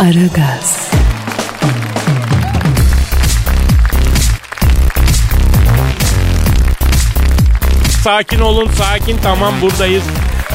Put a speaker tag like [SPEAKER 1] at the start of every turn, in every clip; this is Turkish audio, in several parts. [SPEAKER 1] Aragaz,
[SPEAKER 2] Sakin olun sakin tamam buradayız.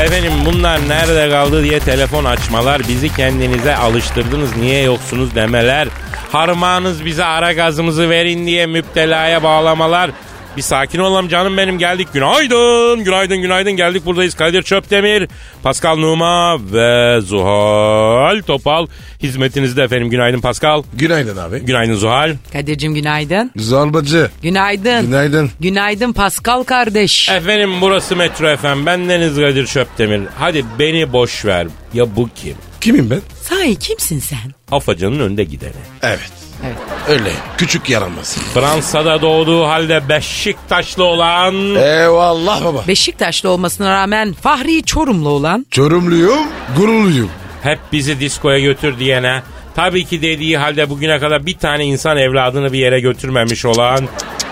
[SPEAKER 2] Efendim bunlar nerede kaldı diye telefon açmalar, bizi kendinize alıştırdınız, niye yoksunuz demeler, harmağınız bize ara gazımızı verin diye müptelaya bağlamalar. Bir sakin olalım canım benim geldik. Günaydın, günaydın, günaydın geldik buradayız. Kadir Çöptemir, Pascal Numa ve Zuhal Topal hizmetinizde efendim. Günaydın Pascal,
[SPEAKER 3] Günaydın abi.
[SPEAKER 2] günaydın Zuhal.
[SPEAKER 4] Kadir'cim günaydın.
[SPEAKER 3] Zorbacı.
[SPEAKER 4] Günaydın.
[SPEAKER 3] Günaydın.
[SPEAKER 4] Günaydın Pascal kardeş.
[SPEAKER 2] Efendim burası Metro efendim. Ben Deniz Kadir Çöptemir. Hadi beni boş ver. Ya bu kim?
[SPEAKER 3] Kimim ben?
[SPEAKER 4] Sahi kimsin sen?
[SPEAKER 2] Afacanın önde gideni.
[SPEAKER 3] Evet.
[SPEAKER 4] Evet.
[SPEAKER 3] Öyle. Küçük yaramaz.
[SPEAKER 2] Fransa'da doğduğu halde Beşiktaşlı olan...
[SPEAKER 3] Eyvallah baba.
[SPEAKER 4] Beşiktaşlı olmasına rağmen Fahri Çorumlu olan
[SPEAKER 3] Çorumluyum, gururluyum.
[SPEAKER 2] Hep bizi diskoya götür diyene... Tabii ki dediği halde bugüne kadar bir tane insan evladını bir yere götürmemiş olan...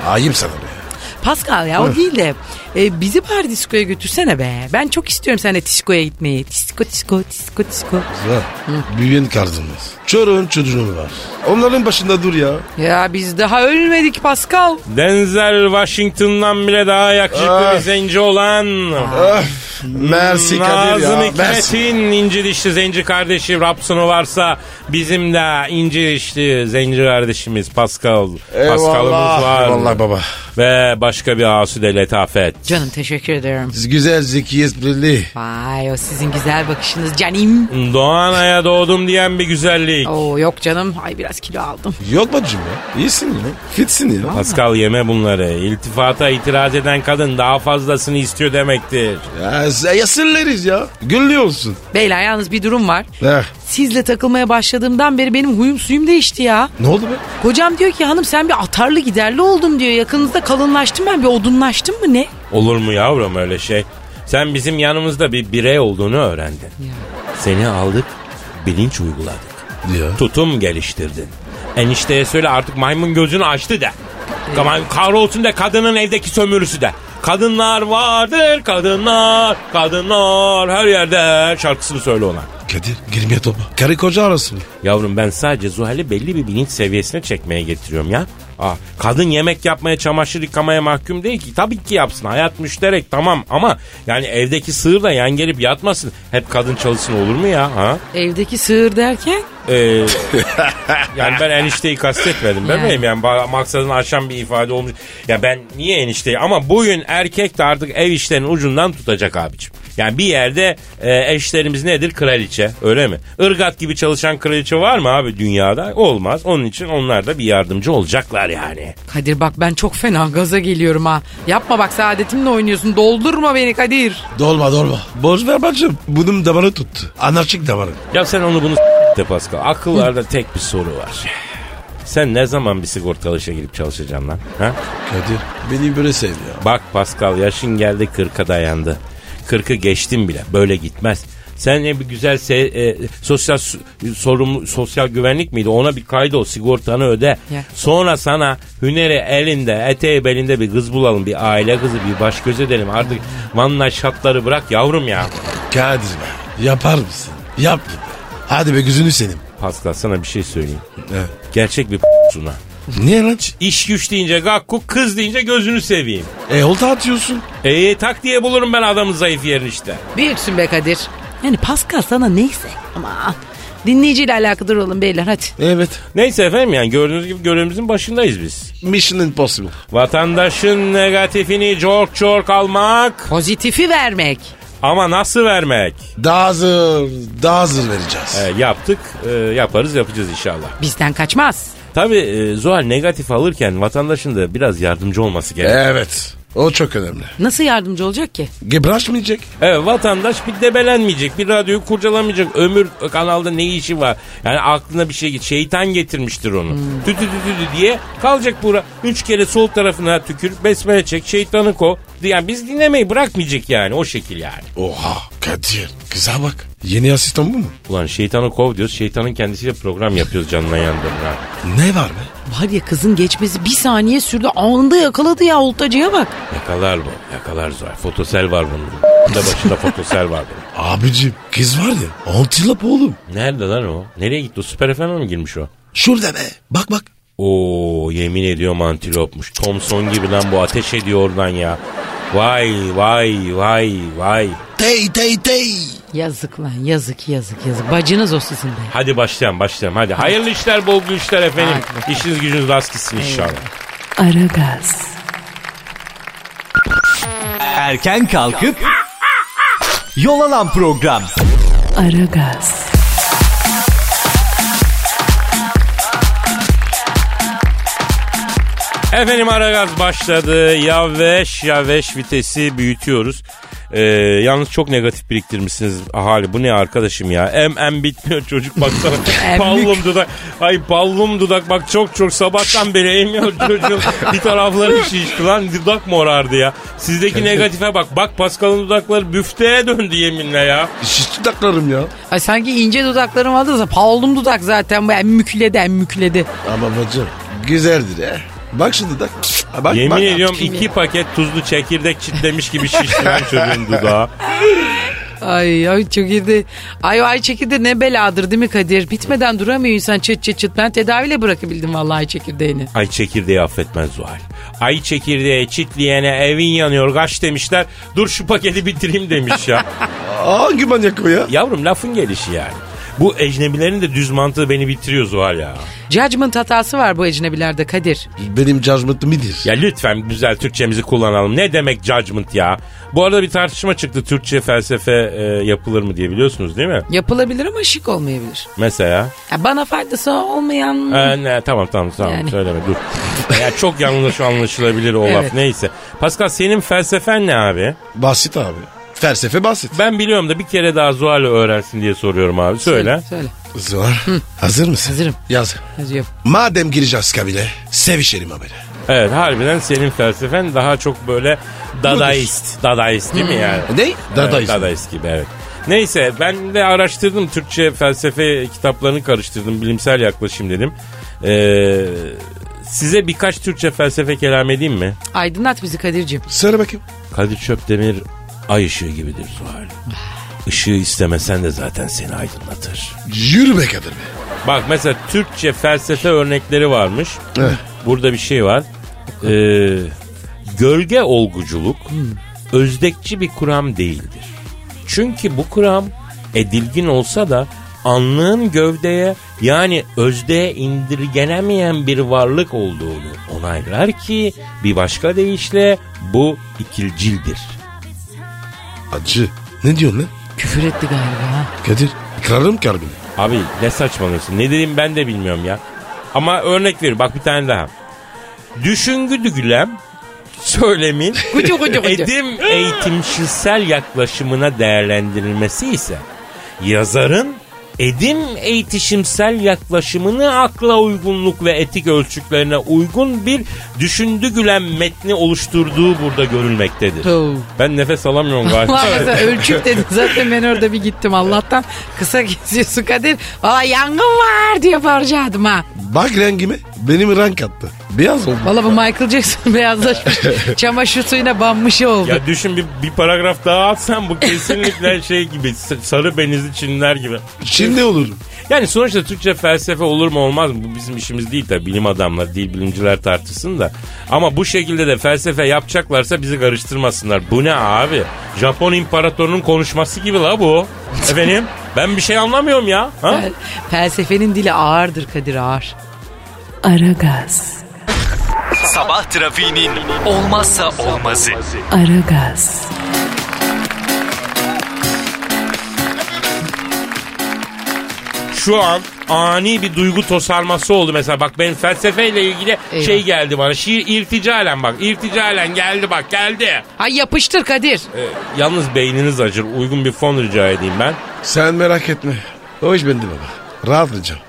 [SPEAKER 3] Ayım sana be.
[SPEAKER 4] Pascal ya o değil de e, bizi bari diskoya götürsene be. Ben çok istiyorum seninle diskoya gitmeyi. Disko disko disko disko.
[SPEAKER 3] Güzel. Büyüyen kardımız. Çorun çocuğun var. Onların başında dur ya.
[SPEAKER 4] Ya biz daha ölmedik Pascal.
[SPEAKER 2] Denzel Washington'dan bile daha yakışıklı
[SPEAKER 3] Ah.
[SPEAKER 2] bir zenci olan...
[SPEAKER 3] Öf. Mersi Kadir
[SPEAKER 2] Nazım
[SPEAKER 3] ya. Mersi.
[SPEAKER 2] Hikmet'in inci dişli zenci kardeşi Rapson'u varsa bizim de inci dişli zenci kardeşimiz Pascal. Pascal'ımız var.
[SPEAKER 3] Eyvallah baba.
[SPEAKER 2] Ve başka bir asude letafet.
[SPEAKER 4] Canım teşekkür ederim.
[SPEAKER 3] Siz güzel, zeki, esprili.
[SPEAKER 4] Vay o sizin güzel bakışınız canim.
[SPEAKER 2] Doğanaya doğdum diyen bir güzellik.
[SPEAKER 4] Oo yok canım. Ay biraz kilo aldım.
[SPEAKER 3] Yok bacım ya. İyisin ya. Fitsin ya.
[SPEAKER 2] Pascal yeme bunları. İltifata itiraz eden kadın daha fazlasını istiyor demektir.
[SPEAKER 3] Ya, yasırlarız ya. Güllü olsun.
[SPEAKER 4] Beyler yalnız bir durum var.
[SPEAKER 3] Heh.
[SPEAKER 4] Sizle takılmaya başladığımdan beri benim huyum suyum değişti ya.
[SPEAKER 3] Ne oldu be?
[SPEAKER 4] Kocam diyor ki hanım sen bir atarlı giderli oldun diyor. Yakınızda kalınlaştım ben bir odunlaştım mı ne?
[SPEAKER 2] Olur mu yavrum öyle şey? Sen bizim yanımızda bir birey olduğunu öğrendin. Seni aldık, bilinç uyguladık.
[SPEAKER 3] Diyor.
[SPEAKER 2] Tutum geliştirdin. Enişteye söyle artık maymun gözünü açtı de. Aman kahrolsun de kadının evdeki sömürüsü de. Kadınlar vardır kadınlar, kadınlar her yerde şarkısını söyle ona.
[SPEAKER 3] Kadir girmeye topa. Karı koca arasın.
[SPEAKER 2] Yavrum ben sadece Zuhal'i belli bir bilinç seviyesine çekmeye getiriyorum ya. Ah, kadın yemek yapmaya, çamaşır yıkamaya mahkum değil ki. Tabii ki yapsın. Hayat müşterek tamam ama yani evdeki sığır da yan gelip yatmasın. Hep kadın çalışsın olur mu ya? Ha?
[SPEAKER 4] Evdeki sığır derken
[SPEAKER 2] Ee, yani ben enişteyi kastetmedim. Ben
[SPEAKER 4] Yani.
[SPEAKER 2] miyim yani ba- maksadını aşan bir ifade olmuş. Ya ben niye enişteyi ama bugün erkek de artık ev işlerinin ucundan tutacak abicim. Yani bir yerde e, eşlerimiz nedir? Kraliçe öyle mi? Irgat gibi çalışan kraliçe var mı abi dünyada? Olmaz. Onun için onlar da bir yardımcı olacaklar yani.
[SPEAKER 4] Kadir bak ben çok fena gaza geliyorum ha. Yapma bak saadetimle oynuyorsun doldurma beni Kadir.
[SPEAKER 3] Dolma dolma. Borç ver bacım. Bunun damarı tuttu. Anarşik damarı.
[SPEAKER 2] Ya sen onu bunu s- de Pascal. Akıllarda tek bir soru var. Sen ne zaman bir sigortalı işe girip çalışacaksın lan? Ha?
[SPEAKER 3] Kadir beni böyle sev ya.
[SPEAKER 2] Bak Pascal yaşın geldi 40'a dayandı. 40'ı geçtin bile böyle gitmez. Sen ne bir güzel se- e, sosyal su- sorumlu sosyal güvenlik miydi? Ona bir kaydol sigortanı öde.
[SPEAKER 4] Ya.
[SPEAKER 2] Sonra sana hüneri elinde, eteği belinde bir kız bulalım. Bir aile kızı, bir baş göz edelim. Artık vanla şatları bırak yavrum ya.
[SPEAKER 3] Kadir be. Yapar mısın? Yap be. Hadi be gözünü senin.
[SPEAKER 2] Pascal sana bir şey söyleyeyim.
[SPEAKER 3] Evet.
[SPEAKER 2] Gerçek bir suna.
[SPEAKER 3] Niye lan? Ç-
[SPEAKER 2] İş güç deyince gakku, kız deyince gözünü seveyim.
[SPEAKER 3] E olta atıyorsun.
[SPEAKER 2] E tak diye bulurum ben adamın zayıf yerini işte.
[SPEAKER 4] Büyüksün be Kadir. Yani Pascal sana neyse ama dinleyiciyle alakadar olun beyler hadi.
[SPEAKER 3] Evet.
[SPEAKER 2] Neyse efendim yani gördüğünüz gibi görevimizin başındayız biz.
[SPEAKER 3] Mission impossible.
[SPEAKER 2] Vatandaşın negatifini çok çok almak
[SPEAKER 4] Pozitifi vermek.
[SPEAKER 2] ama nasıl vermek?
[SPEAKER 3] Daha hazır. Daha hazır vereceğiz.
[SPEAKER 2] E, yaptık, e, yaparız, yapacağız inşallah.
[SPEAKER 4] Bizden kaçmaz.
[SPEAKER 2] Tabii e, Zuhal negatif alırken vatandaşın da biraz yardımcı olması gerek.
[SPEAKER 3] Evet. O çok önemli.
[SPEAKER 4] Nasıl yardımcı olacak ki?
[SPEAKER 3] Gebraşmayacak.
[SPEAKER 2] Evet vatandaş bir debelenmeyecek, bir radyoyu kurcalamayacak. Ömür kanalda ne işi var? Yani aklına bir şey git. Şeytan getirmiştir onu. Tütü tütü tütü diye kalacak bura. Üç kere sol tarafına tükür, besmele çek, şeytanı ko. Yani biz dinlemeyi bırakmayacak yani o şekil yani.
[SPEAKER 3] Oha Kadir. Kıza bak. Yeni asistan bu mu?
[SPEAKER 2] Ulan şeytanı kov diyoruz. Şeytanın kendisiyle program yapıyoruz canına yandığında.
[SPEAKER 3] Ne var be?
[SPEAKER 4] Var ya kızın geçmesi bir saniye sürdü anında yakaladı ya oltacıya bak.
[SPEAKER 2] Yakalar bu. Yakalar zor. Fotosel var bunun. Bunda başında fotosel var bunun.
[SPEAKER 3] Abicim kız var ya. Antilop oğlum.
[SPEAKER 2] Nerede lan o? Nereye gitti? O süper FM'e mi girmiş o?
[SPEAKER 3] Şurada be. Bak bak.
[SPEAKER 2] Oo yemin ediyorum antilopmuş. Thompson gibi lan bu ateş ediyor oradan ya. Vay vay vay vay.
[SPEAKER 3] Tey tey tey.
[SPEAKER 4] Yazık lan yazık yazık yazık. Bacınız o sizin be.
[SPEAKER 2] Hadi başlayalım başlayalım hadi. Hayırlı işler bol güçler efendim.
[SPEAKER 4] Hadi bakalım.
[SPEAKER 2] İşiniz gücünüz rast gitsin inşallah.
[SPEAKER 1] Aragaz,
[SPEAKER 5] Erken kalkıp yol alan program.
[SPEAKER 1] Aragaz,
[SPEAKER 2] Efendim Aragaz başladı. Yavaş yavaş vitesi büyütüyoruz. Ee, yalnız çok negatif biriktirmişsiniz hali. Bu ne arkadaşım ya? Em em bitmiyor çocuk baksana. ballum dudak. Ay ballum dudak bak çok çok sabahtan beri emiyor çocuğun. Bir tarafları şişti lan dudak morardı ya. Sizdeki negatife bak. Bak Pascal'ın dudakları büfteye döndü yeminle ya.
[SPEAKER 3] Şişti taklarım ya.
[SPEAKER 4] Ay sanki ince dudaklarım vardı da paulum dudak zaten bu emmükledi emmükledi.
[SPEAKER 3] Ama bacım güzeldir he. Bak şimdi da. Ha, Bak,
[SPEAKER 2] Yemin
[SPEAKER 3] bak.
[SPEAKER 2] ediyorum iki paket tuzlu çekirdek çitlemiş gibi şişti lan çocuğun dudağı.
[SPEAKER 4] Ay ay çekirdi. Ay ay çekirdi ne beladır değil mi Kadir? Bitmeden duramıyor insan çıt çıt çıt. Ben tedaviyle bırakabildim vallahi ay çekirdeğini.
[SPEAKER 2] Ay çekirdeği affetmez Zuhal. Ay çekirdeği çitleyene evin yanıyor kaç demişler. Dur şu paketi bitireyim demiş ya.
[SPEAKER 3] Hangi manyak o ya?
[SPEAKER 2] Yavrum lafın gelişi yani. Bu ecnebilerin de düz mantığı beni bitiriyor Zuhal ya.
[SPEAKER 4] Judgment hatası var bu ecnebilerde Kadir.
[SPEAKER 3] Benim judgment'ım iyidir.
[SPEAKER 2] Ya lütfen güzel Türkçemizi kullanalım. Ne demek judgment ya? Bu arada bir tartışma çıktı. Türkçe felsefe e, yapılır mı diye biliyorsunuz değil mi?
[SPEAKER 4] Yapılabilir ama şık olmayabilir.
[SPEAKER 2] Mesela.
[SPEAKER 4] Ya bana faydası olmayan...
[SPEAKER 2] Ee, ne, tamam tamam tamam
[SPEAKER 4] Yani.
[SPEAKER 2] söyleme dur. ya çok yanlış anlaşılabilir o laf
[SPEAKER 4] Evet.
[SPEAKER 2] neyse. Pascal senin felsefen ne abi?
[SPEAKER 3] Basit abi. Felsefe basit.
[SPEAKER 2] Ben biliyorum da bir kere daha Zuhal'ı öğrensin diye soruyorum abi. Söyle.
[SPEAKER 4] Söyle.
[SPEAKER 3] Zor. Hazır mısın?
[SPEAKER 4] Hazırım.
[SPEAKER 3] Yaz.
[SPEAKER 4] Hadi yap.
[SPEAKER 3] Madem gireceğiz kabile, sevişelim haberi.
[SPEAKER 2] Evet harbiden senin felsefen daha çok böyle dadaist. Dadaist değil mi yani?
[SPEAKER 3] Ne? Dadaist.
[SPEAKER 2] Evet, Hmm. dadaist gibi evet. Neyse ben de araştırdım Türkçe felsefe kitaplarını karıştırdım bilimsel yaklaşım dedim. Ee, size birkaç Türkçe felsefe kelam edeyim mi?
[SPEAKER 4] Aydınlat bizi Kadir'cim.
[SPEAKER 3] Söyle bakayım.
[SPEAKER 2] Kadir Çöpdemir ay ışığı gibidir Zuhal. Işığı istemesen de zaten seni aydınlatır.
[SPEAKER 3] Yürü be Kadir be.
[SPEAKER 2] Bak mesela Türkçe felsefe örnekleri varmış. Burada bir şey var. Ee, gölge olguculuk özdekçi bir kuram değildir. Çünkü bu kuram edilgin olsa da anlığın gövdeye yani özdeye indirgenemeyen bir varlık olduğunu onaylar ki bir başka deyişle bu ikilcildir.
[SPEAKER 3] Acı. Ne diyorsun lan?
[SPEAKER 4] Küfür etti galiba ha.
[SPEAKER 3] Kadir, kırarım kalbini.
[SPEAKER 2] Abi ne saçmalıyorsun? Ne dediğimi ben de bilmiyorum ya. Ama örnek veriyorum. Bak bir tane daha. Düşüngü dügülem söylemin
[SPEAKER 4] Kucu kucu kucu.
[SPEAKER 2] edim eğitimşisel yaklaşımına değerlendirilmesi ise yazarın edim eğitişimsel yaklaşımını akla uygunluk ve etik ölçüklerine uygun bir düşündü gülen metni oluşturduğu burada görülmektedir.
[SPEAKER 4] Tov.
[SPEAKER 2] Ben nefes alamıyorum galiba.
[SPEAKER 4] Vallahi mesela ölçüp dedin zaten ben orada bir gittim Allah'tan kısa geziyorsun Kadir. Valla yangın var diye bağıracaktım ha.
[SPEAKER 3] Bak rengime. Benim renk attı. Beyaz oldu.
[SPEAKER 4] Valla bu Michael Jackson beyazlaşmış. Çamaşır suyuna banmış oldu.
[SPEAKER 2] Ya düşün bir, bir paragraf daha atsan bu kesinlikle şey gibi s- sarı benizli Çinliler gibi.
[SPEAKER 3] Şimdi olur.
[SPEAKER 2] Yani sonuçta Türkçe felsefe olur mu olmaz mı bu bizim işimiz değil tabii bilim adamları değil bilimciler tartışsın da. Ama bu şekilde de felsefe yapacaklarsa bizi karıştırmasınlar. Bu ne abi? Japon imparatorunun konuşması gibi la bu. Efendim ben bir şey anlamıyorum ya. Ha?
[SPEAKER 4] Fel- Felsefenin dili ağırdır Kadir ağır.
[SPEAKER 1] Aragaz,
[SPEAKER 5] Sabah trafiğinin olmazsa olmazı.
[SPEAKER 1] Aragaz,
[SPEAKER 2] Şu an ani bir duygu tosarması oldu mesela. Bak benim felsefeyle ilgili
[SPEAKER 4] Eyvah.
[SPEAKER 2] şey geldi bana. Şiir irticalen bak. irticalen geldi bak geldi.
[SPEAKER 4] Ay yapıştır Kadir.
[SPEAKER 2] Ee, yalnız beyniniz acır. Uygun bir fon rica edeyim ben.
[SPEAKER 3] Sen merak etme. O iş bende baba. Rahatlayacağım.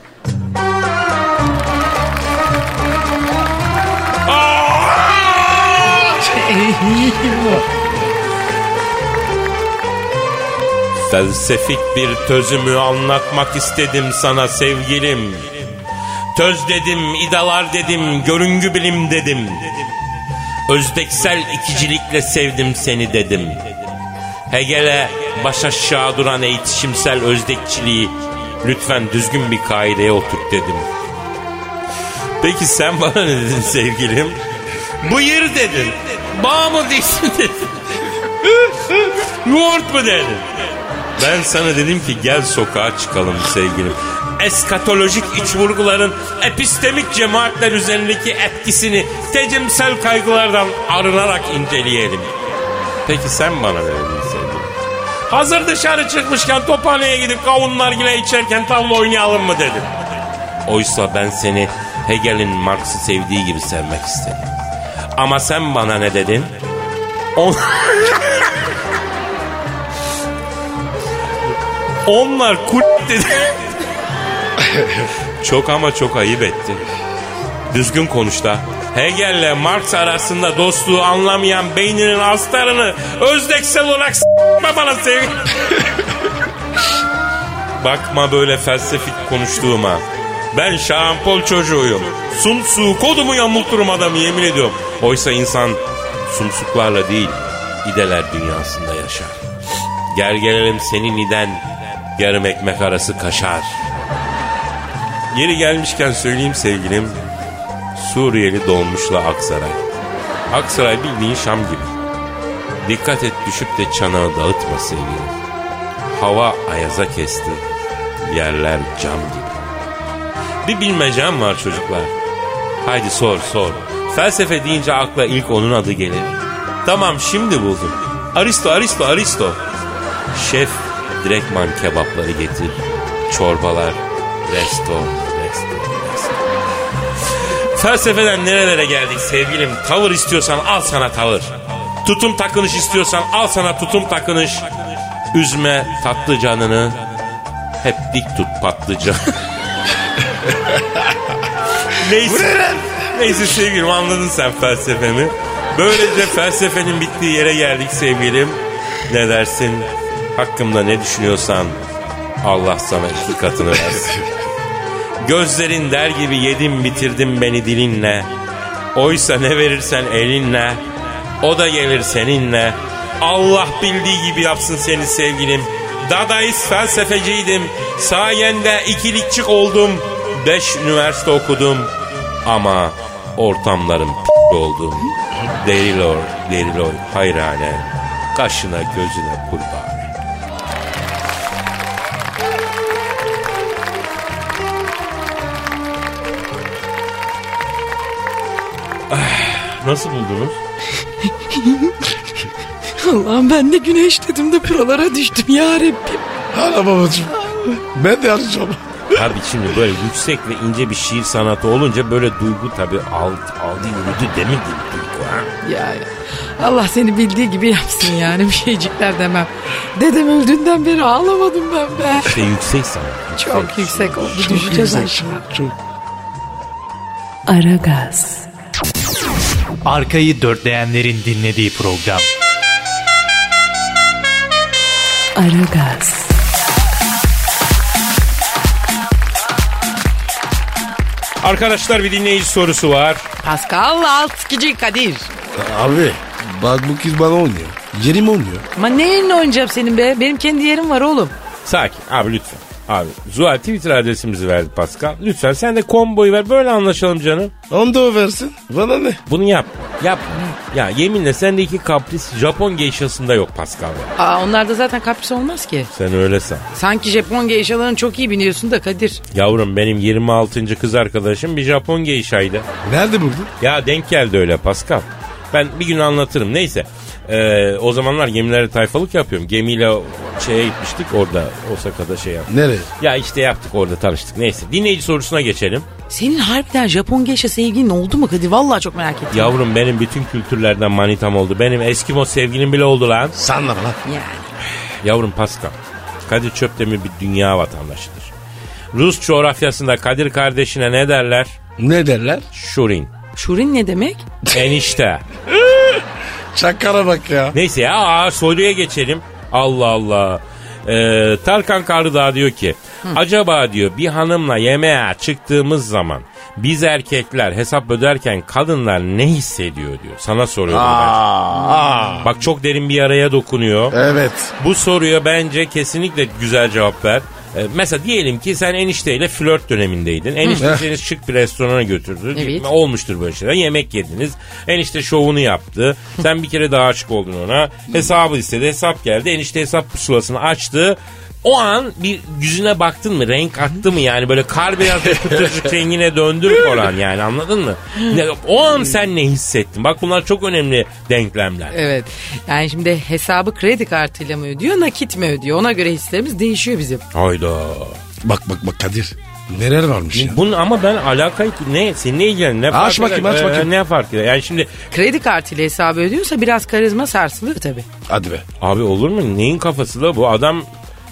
[SPEAKER 2] Felsefik bir tözümü anlatmak istedim sana sevgilim. Töz dedim, idalar dedim, görüngü bilim dedim. Özdeksel ikicilikle sevdim seni dedim. Hegel'e baş aşağı duran eğitişimsel özdekçiliği lütfen düzgün bir kaideye oturt dedim. Peki sen bana ne dedin sevgilim? Bıyır dedin. Bağ mı dişi dedin. Yoğurt mu dedin? Ben sana dedim ki gel sokağa çıkalım sevgilim. Eskatolojik iç vurguların epistemik cemaatler üzerindeki etkisini tecimsel kaygılardan arınarak inceleyelim. Peki sen bana ne dedin sevgilim? Hazır dışarı çıkmışken tophaneye gidip kavunlar gile içerken tavla oynayalım mı dedim. Oysa ben seni Hegel'in Marx'ı sevdiği gibi sevmek istedim. Ama sen bana ne dedin? On... Onlar kul dedi. çok ama çok ayıp ettin. Düzgün konuş da. Hegel'le Marx arasında dostluğu anlamayan beyninin astarını özdeksel olarak s**me bana sevgili. Bakma böyle felsefik konuştuğuma. Ben şarampol çocuğuyum. Sumsuğu kodumu yamulturum adamı yemin ediyorum. Oysa insan sumsuklarla değil, ideler dünyasında yaşar. Gel gelelim senin iden, yarım ekmek arası kaşar. Yeri gelmişken söyleyeyim sevgilim, Suriyeli dolmuşla Aksaray. Aksaray bildiğin Şam gibi. Dikkat et düşüp de çanağı dağıtma sevgilim. Hava ayaza kesti. Yerler cam gibi. Bir bilmecem var çocuklar. Haydi sor sor. Felsefe deyince akla ilk onun adı gelir. Tamam şimdi buldum. Aristo Aristo Aristo. Şef direktman kebapları getir. Çorbalar resto resto resto. Felsefeden nerelere geldik sevgilim? Tavır istiyorsan al sana tavır. Tutum takınış istiyorsan al sana tutum takınış. Üzme tatlı canını. Hep dik tut patlıcan. Neyse. Neyse sevgilim anladın sen felsefemi. Böylece felsefenin bittiği yere geldik sevgilim. Ne dersin? Hakkımda ne düşünüyorsan Allah sana iki katını versin. Gözlerin der gibi yedim bitirdim beni dilinle. Oysa ne verirsen elinle. O da gelir seninle. Allah bildiği gibi yapsın seni sevgilim. Dadaist felsefeciydim. Sayende ikilikçik oldum. Beş üniversite okudum. Ama ortamlarım p- oldu. Derilor, derilor, hayrane. Kaşına gözüne kurban. Nasıl buldunuz?
[SPEAKER 4] Allah'ım ben de güneş dedim de buralara düştüm ya Rabbim.
[SPEAKER 3] Hala babacığım. Ben de arayacağım.
[SPEAKER 2] Tabii şimdi böyle yüksek ve ince bir şiir sanatı olunca böyle duygu tabii alt, aldı yürüdü demin de duygu ha.
[SPEAKER 4] Ya Allah seni bildiği gibi yapsın yani bir şeycikler demem. Dedem öldüğünden beri ağlamadım ben be.
[SPEAKER 2] İşte yüksek sanat.
[SPEAKER 4] Çok yüksek oldu düşeceğiz aşağı.
[SPEAKER 1] Aragaz,
[SPEAKER 5] Arkayı dörtleyenlerin dinlediği program.
[SPEAKER 1] Aragaz,
[SPEAKER 2] Arkadaşlar bir dinleyici sorusu var.
[SPEAKER 4] Pascal Altkici Kadir.
[SPEAKER 3] Abi bak bu kız bana oynuyor. Yerim oynuyor.
[SPEAKER 4] Ama ne yerine oynayacağım senin be? Benim kendi yerim var oğlum.
[SPEAKER 2] Sakin abi lütfen. Abi Zuhal Twitter adresimizi verdi Pascal. Lütfen sen de komboyu ver böyle anlaşalım canım.
[SPEAKER 3] Onu da o versin. Bana ne?
[SPEAKER 2] Bunu yap. Yap. Ya yeminle sendeki kapris Japon geyşasında yok Pascal. ya.
[SPEAKER 4] Aa, onlarda zaten kapris olmaz ki.
[SPEAKER 2] Sen öyle san.
[SPEAKER 4] Sanki Japon geyşalarını çok iyi biliyorsun da Kadir.
[SPEAKER 2] Yavrum benim 26. kız arkadaşım bir Japon geyşaydı.
[SPEAKER 3] Nerede buldun?
[SPEAKER 2] Ya denk geldi öyle Pascal. Ben bir gün anlatırım. Neyse. Ee, o zamanlar gemilere tayfalık yapıyorum. Gemiyle şeye gitmiştik orada Osaka'da şey yaptık.
[SPEAKER 3] Nereye?
[SPEAKER 2] Ya işte yaptık orada tanıştık. Neyse dinleyici sorusuna geçelim.
[SPEAKER 4] Senin harbiden Japon geisha sevgilin oldu mu Kadir? Vallahi çok merak ettim.
[SPEAKER 2] Yavrum benim bütün kültürlerden manitam oldu. Benim Eskimo sevgilim bile oldu lan.
[SPEAKER 3] Sanma lan.
[SPEAKER 4] Yani.
[SPEAKER 2] Yavrum Pascal. Kadir Çöptemir bir dünya vatandaşıdır. Rus coğrafyasında Kadir kardeşine ne derler?
[SPEAKER 3] Ne derler?
[SPEAKER 2] Şurin.
[SPEAKER 4] Şurin ne demek?
[SPEAKER 2] Enişte.
[SPEAKER 3] Çakara bak ya.
[SPEAKER 2] Neyse ya aa, soruya geçelim. Allah Allah. Ee, Tarkan Karıdağ diyor ki acaba diyor bir hanımla yemeğe çıktığımız zaman biz erkekler hesap öderken kadınlar ne hissediyor diyor. Sana soruyorum ben.
[SPEAKER 3] Aa,
[SPEAKER 2] Bak çok derin bir araya dokunuyor.
[SPEAKER 3] Evet.
[SPEAKER 2] Bu soruya bence kesinlikle güzel cevap ver. Ee, mesela diyelim ki sen enişteyle flört dönemindeydin. Enişte
[SPEAKER 3] Hı.
[SPEAKER 2] seni şık bir restorana götürdü.
[SPEAKER 4] Evet.
[SPEAKER 2] Olmuştur böyle şeyler. Yemek yediniz. Enişte şovunu yaptı. sen bir kere daha aşık oldun ona. Hesabı istedi. Hesap geldi. Enişte hesap pusulasını açtı. O an bir yüzüne baktın mı? Renk attı mı yani? Böyle kar beyaz bir kutucuk rengine döndü mü falan yani anladın mı? Ne- o an sen ne hissettin? Bak bunlar çok önemli denklemler.
[SPEAKER 4] Evet. Yani şimdi hesabı kredi kartıyla mı ödüyor, nakit mi ödüyor? Ona göre hislerimiz değişiyor bizim.
[SPEAKER 2] Hayda.
[SPEAKER 3] Bak bak bak Kadir. Neler varmış ya.
[SPEAKER 2] Bunun ama ben alakayı ne seni ne ilgilen ne fark eder?
[SPEAKER 3] bakayım, aç
[SPEAKER 2] Ee,
[SPEAKER 3] bakayım.
[SPEAKER 2] ne fark eder? Yani şimdi
[SPEAKER 4] Kredi kartıyla hesabı ödüyorsa biraz karizma sarsılıyor tabii.
[SPEAKER 3] Hadi be.
[SPEAKER 2] abi olur mu? Neyin kafası la bu? Adam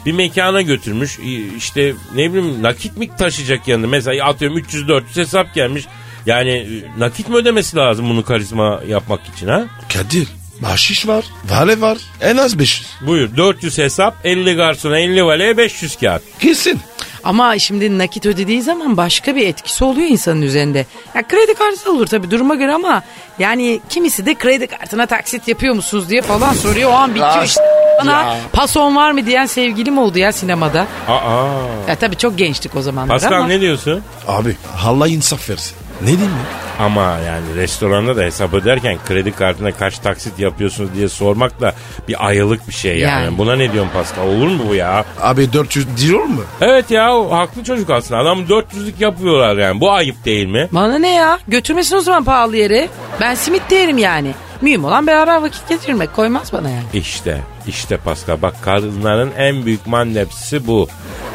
[SPEAKER 2] bir mekana götürmüş i- işte ne bileyim nakit mi taşıyacak yanında mesela atıyorum 300-400 hesap gelmiş yani e, nakit mi ödemesi lazım bunu karizma yapmak için ha?
[SPEAKER 3] Kadir. Bahşiş var. Vale var. En az 500.
[SPEAKER 2] Buyur 400 hesap 50 garsona 50 valeye 500 kağıt.
[SPEAKER 3] Kesin.
[SPEAKER 4] Ama şimdi nakit ödediği zaman başka bir etkisi oluyor insanın üzerinde. Ya kredi kartı da olur tabii duruma göre ama yani kimisi de kredi kartına taksit yapıyor musunuz diye falan soruyor. O an bitiyor işte. Bana pason var mı diyen sevgilim oldu ya sinemada.
[SPEAKER 2] Aa.
[SPEAKER 4] Ya tabii çok gençtik o zamanlar
[SPEAKER 2] Pascal
[SPEAKER 4] ama.
[SPEAKER 2] ne diyorsun?
[SPEAKER 3] Abi Allah insaf versin. Ne diyeyim ya?
[SPEAKER 2] Ama yani restoranda da hesap öderken kredi kartına kaç taksit yapıyorsunuz diye sormak da bir ayılık bir şey yani.
[SPEAKER 4] Yani.
[SPEAKER 2] Buna ne diyorsun Pascal olur mu bu ya?
[SPEAKER 3] Abi 400 diyor mu?
[SPEAKER 2] Evet ya o haklı çocuk aslında adam 400'lük yapıyorlar yani bu ayıp değil mi?
[SPEAKER 4] Bana ne ya götürmesin o zaman pahalı yere. Ben simit de yerim yani. Mühim olan beraber vakit geçirmek koymaz bana yani.
[SPEAKER 2] İşte işte Pascal bak kadınların en büyük mannepsisi bu.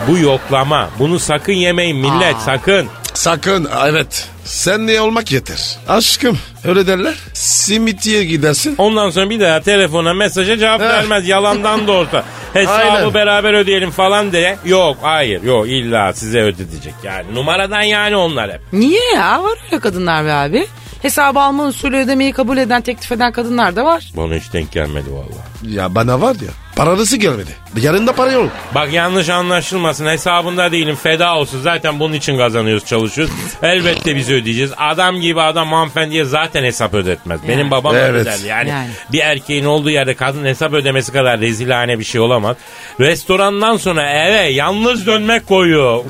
[SPEAKER 2] Bu yoklama bunu sakın yemeyin millet sakın.
[SPEAKER 3] Sakın evet. Sen ne olmak yeter. Aşkım öyle derler. Simitiye gidersin.
[SPEAKER 2] Ondan sonra bir daha telefona mesaja cevap
[SPEAKER 3] Eh.
[SPEAKER 2] vermez yalandan da olsa. Hesabı
[SPEAKER 3] Aynen.
[SPEAKER 2] beraber ödeyelim falan diye. Yok hayır yok illa size ödetecek yani. Numaradan yani onlar hep.
[SPEAKER 4] Niye ya var öyle kadınlar be abi. Hesabı alma usulü ödemeyi kabul eden teklif eden kadınlar da var.
[SPEAKER 2] Bana hiç denk gelmedi vallahi.
[SPEAKER 3] Ya bana var ya. Parası gelmedi. Yarın da para yok.
[SPEAKER 2] Bak yanlış anlaşılmasın hesabında değilim feda olsun zaten bunun için kazanıyoruz çalışıyoruz. Elbette biz ödeyeceğiz. Adam gibi adam hanımefendiye zaten hesap ödetmez. Benim babam öyle
[SPEAKER 3] Evet.
[SPEAKER 2] derdi yani,
[SPEAKER 4] Yani.
[SPEAKER 2] bir erkeğin olduğu yerde kadın hesap ödemesi kadar rezilhane bir şey olamaz. Restorandan sonra eve yalnız dönmek koyuyor.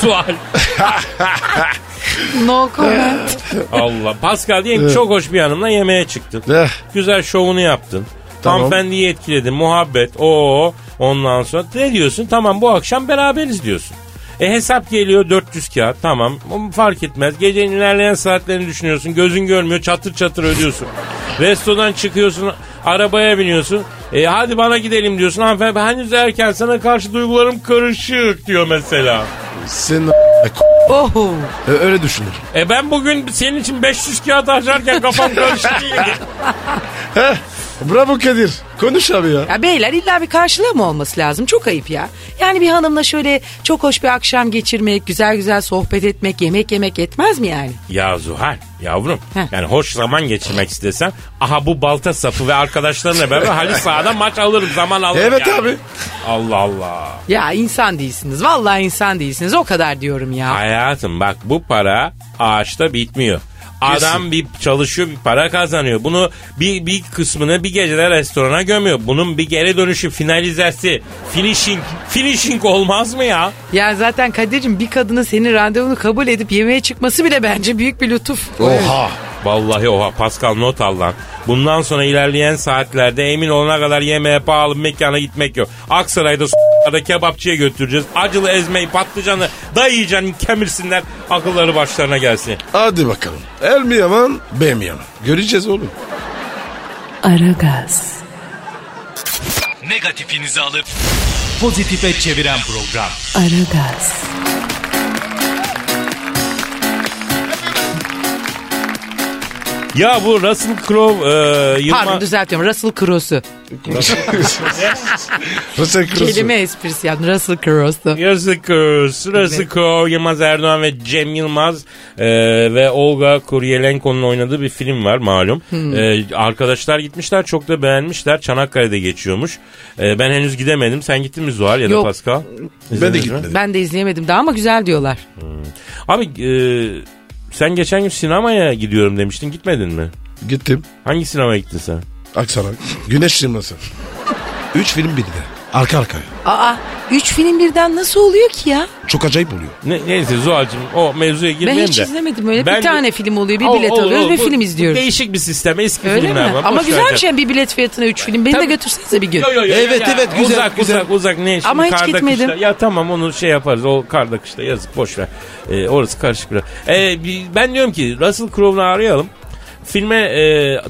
[SPEAKER 2] Sual.
[SPEAKER 4] No comment.
[SPEAKER 2] Allah. Pascal diyelim ki çok hoş bir hanımla yemeğe çıktın.
[SPEAKER 3] Eh.
[SPEAKER 2] Güzel şovunu yaptın.
[SPEAKER 3] Tamam.
[SPEAKER 2] Hanımefendiyi etkiledin. Muhabbet. Oo. Ondan sonra ne diyorsun? Tamam bu akşam beraberiz diyorsun. E hesap geliyor 400 kağıt tamam O fark etmez. Gecenin ilerleyen saatlerini düşünüyorsun. Gözün görmüyor çatır çatır ödüyorsun. Restodan çıkıyorsun arabaya biniyorsun. E hadi bana gidelim diyorsun hanımefendi henüz erken sana karşı duygularım karışık diyor mesela.
[SPEAKER 3] Sen
[SPEAKER 4] Oh.
[SPEAKER 3] Ö- öyle düşünür.
[SPEAKER 2] E ben bugün senin için 500 kağıt harcarken kafam karışık değil.
[SPEAKER 3] Heh. Eh, Bravo Kadir. Konuş abi ya.
[SPEAKER 4] Ya beyler illa bir karşılığı mı olması lazım? Çok ayıp ya. Yani bir hanımla şöyle çok hoş bir akşam geçirmek, güzel güzel sohbet etmek, yemek yemek yetmez mi yani?
[SPEAKER 2] Ya Zuhal yavrum
[SPEAKER 4] Heh.
[SPEAKER 2] yani hoş zaman geçirmek istesen aha bu balta sapı ve arkadaşlarınla beraber halı sahada maç alırım zaman alırım.
[SPEAKER 3] Evet
[SPEAKER 2] yani.
[SPEAKER 3] abi.
[SPEAKER 2] Allah Allah.
[SPEAKER 4] Ya insan değilsiniz. Vallahi insan değilsiniz. O kadar diyorum ya.
[SPEAKER 2] Hayatım bak bu para ağaçta bitmiyor.
[SPEAKER 3] Kesin.
[SPEAKER 2] Adam bir çalışıyor bir para kazanıyor. Bunu bir, bir kısmını bir gecede restorana gömüyor. Bunun bir geri dönüşü finalizesi finishing finishing olmaz mı ya?
[SPEAKER 4] Ya zaten Kadir'cim bir kadının senin randevunu kabul edip yemeğe çıkması bile bence büyük bir lütuf.
[SPEAKER 2] Oh.
[SPEAKER 3] Oha.
[SPEAKER 2] Vallahi oha Pascal not al lan. Bundan sonra ilerleyen saatlerde emin olana kadar yemeğe pahalı bir mekana gitmek yok. Aksaray'da s**larda kebapçıya götüreceğiz. Acılı ezmeyi patlıcanı dayayacaksın kemirsinler akılları başlarına gelsin.
[SPEAKER 3] Hadi bakalım. El mi yaman, B mi yaman? Göreceğiz oğlum.
[SPEAKER 1] Aragaz,
[SPEAKER 5] Negatifinizi alıp pozitife çeviren program.
[SPEAKER 1] Aragaz,
[SPEAKER 2] Ya bu Russell Crowe e, Yılmaz...
[SPEAKER 4] Pardon düzeltiyorum. Russell Crowe'su.
[SPEAKER 3] Russell Crowe'su.
[SPEAKER 4] Kelime esprisi yani. Russell Crowe'su.
[SPEAKER 2] Yazık olsun. Russell Crowe, Yılmaz Erdoğan ve Cem Yılmaz e, ve Olga Kuryelenko'nun oynadığı bir film var malum.
[SPEAKER 4] Hmm.
[SPEAKER 2] E, arkadaşlar gitmişler çok da beğenmişler. Çanakkale'de geçiyormuş. E, ben henüz gidemedim. Sen gittin mi Zuhal ya da
[SPEAKER 4] Yok.
[SPEAKER 2] Pascal?
[SPEAKER 3] Ben de
[SPEAKER 2] İzlediniz mi?
[SPEAKER 3] gitmedim.
[SPEAKER 4] Ben de izleyemedim daha ama güzel diyorlar.
[SPEAKER 2] Abi e, sen geçen gün sinemaya gidiyorum demiştin. Gitmedin mi?
[SPEAKER 3] Gittim.
[SPEAKER 2] Hangi sinemaya gittin sen?
[SPEAKER 3] Aksaray. Güneş sineması. Üç film birden. Arka arkaya.
[SPEAKER 4] Aa, üç film birden nasıl oluyor ki ya?
[SPEAKER 3] Çok acayip oluyor.
[SPEAKER 2] Ne, neyse Zuhal'cığım o mevzuya
[SPEAKER 4] Ben
[SPEAKER 2] girmeyeyim de.
[SPEAKER 4] hiç izlemedim öyle.
[SPEAKER 2] Ben-
[SPEAKER 4] bir tane film
[SPEAKER 2] O-
[SPEAKER 4] oluyor. Bir bilet
[SPEAKER 2] o- o-
[SPEAKER 4] alıyoruz ve
[SPEAKER 2] bu-
[SPEAKER 4] film
[SPEAKER 2] bu
[SPEAKER 4] izliyoruz.
[SPEAKER 2] Değişik bir sistem. Eski
[SPEAKER 4] Öyle mi?
[SPEAKER 2] filmler var. Boş
[SPEAKER 4] Ama
[SPEAKER 2] ver
[SPEAKER 4] güzel
[SPEAKER 2] canım.
[SPEAKER 4] bir şey bir bilet fiyatına üç film. Beni de götürsenize bir gün.
[SPEAKER 2] Yo, yo, yo,
[SPEAKER 3] Evet, evet, güzel,
[SPEAKER 2] uzak,
[SPEAKER 3] güzel.
[SPEAKER 2] Uzak uzak ne şimdi
[SPEAKER 4] Ama hiç
[SPEAKER 2] karda
[SPEAKER 4] gitmedim.
[SPEAKER 2] kışta. Ya tamam onu şey yaparız o karda kışta yazık boş ver. Ee, orası karışık biraz. Ee, bi- ben diyorum ki Russell Crowe'u arayalım. Filme e,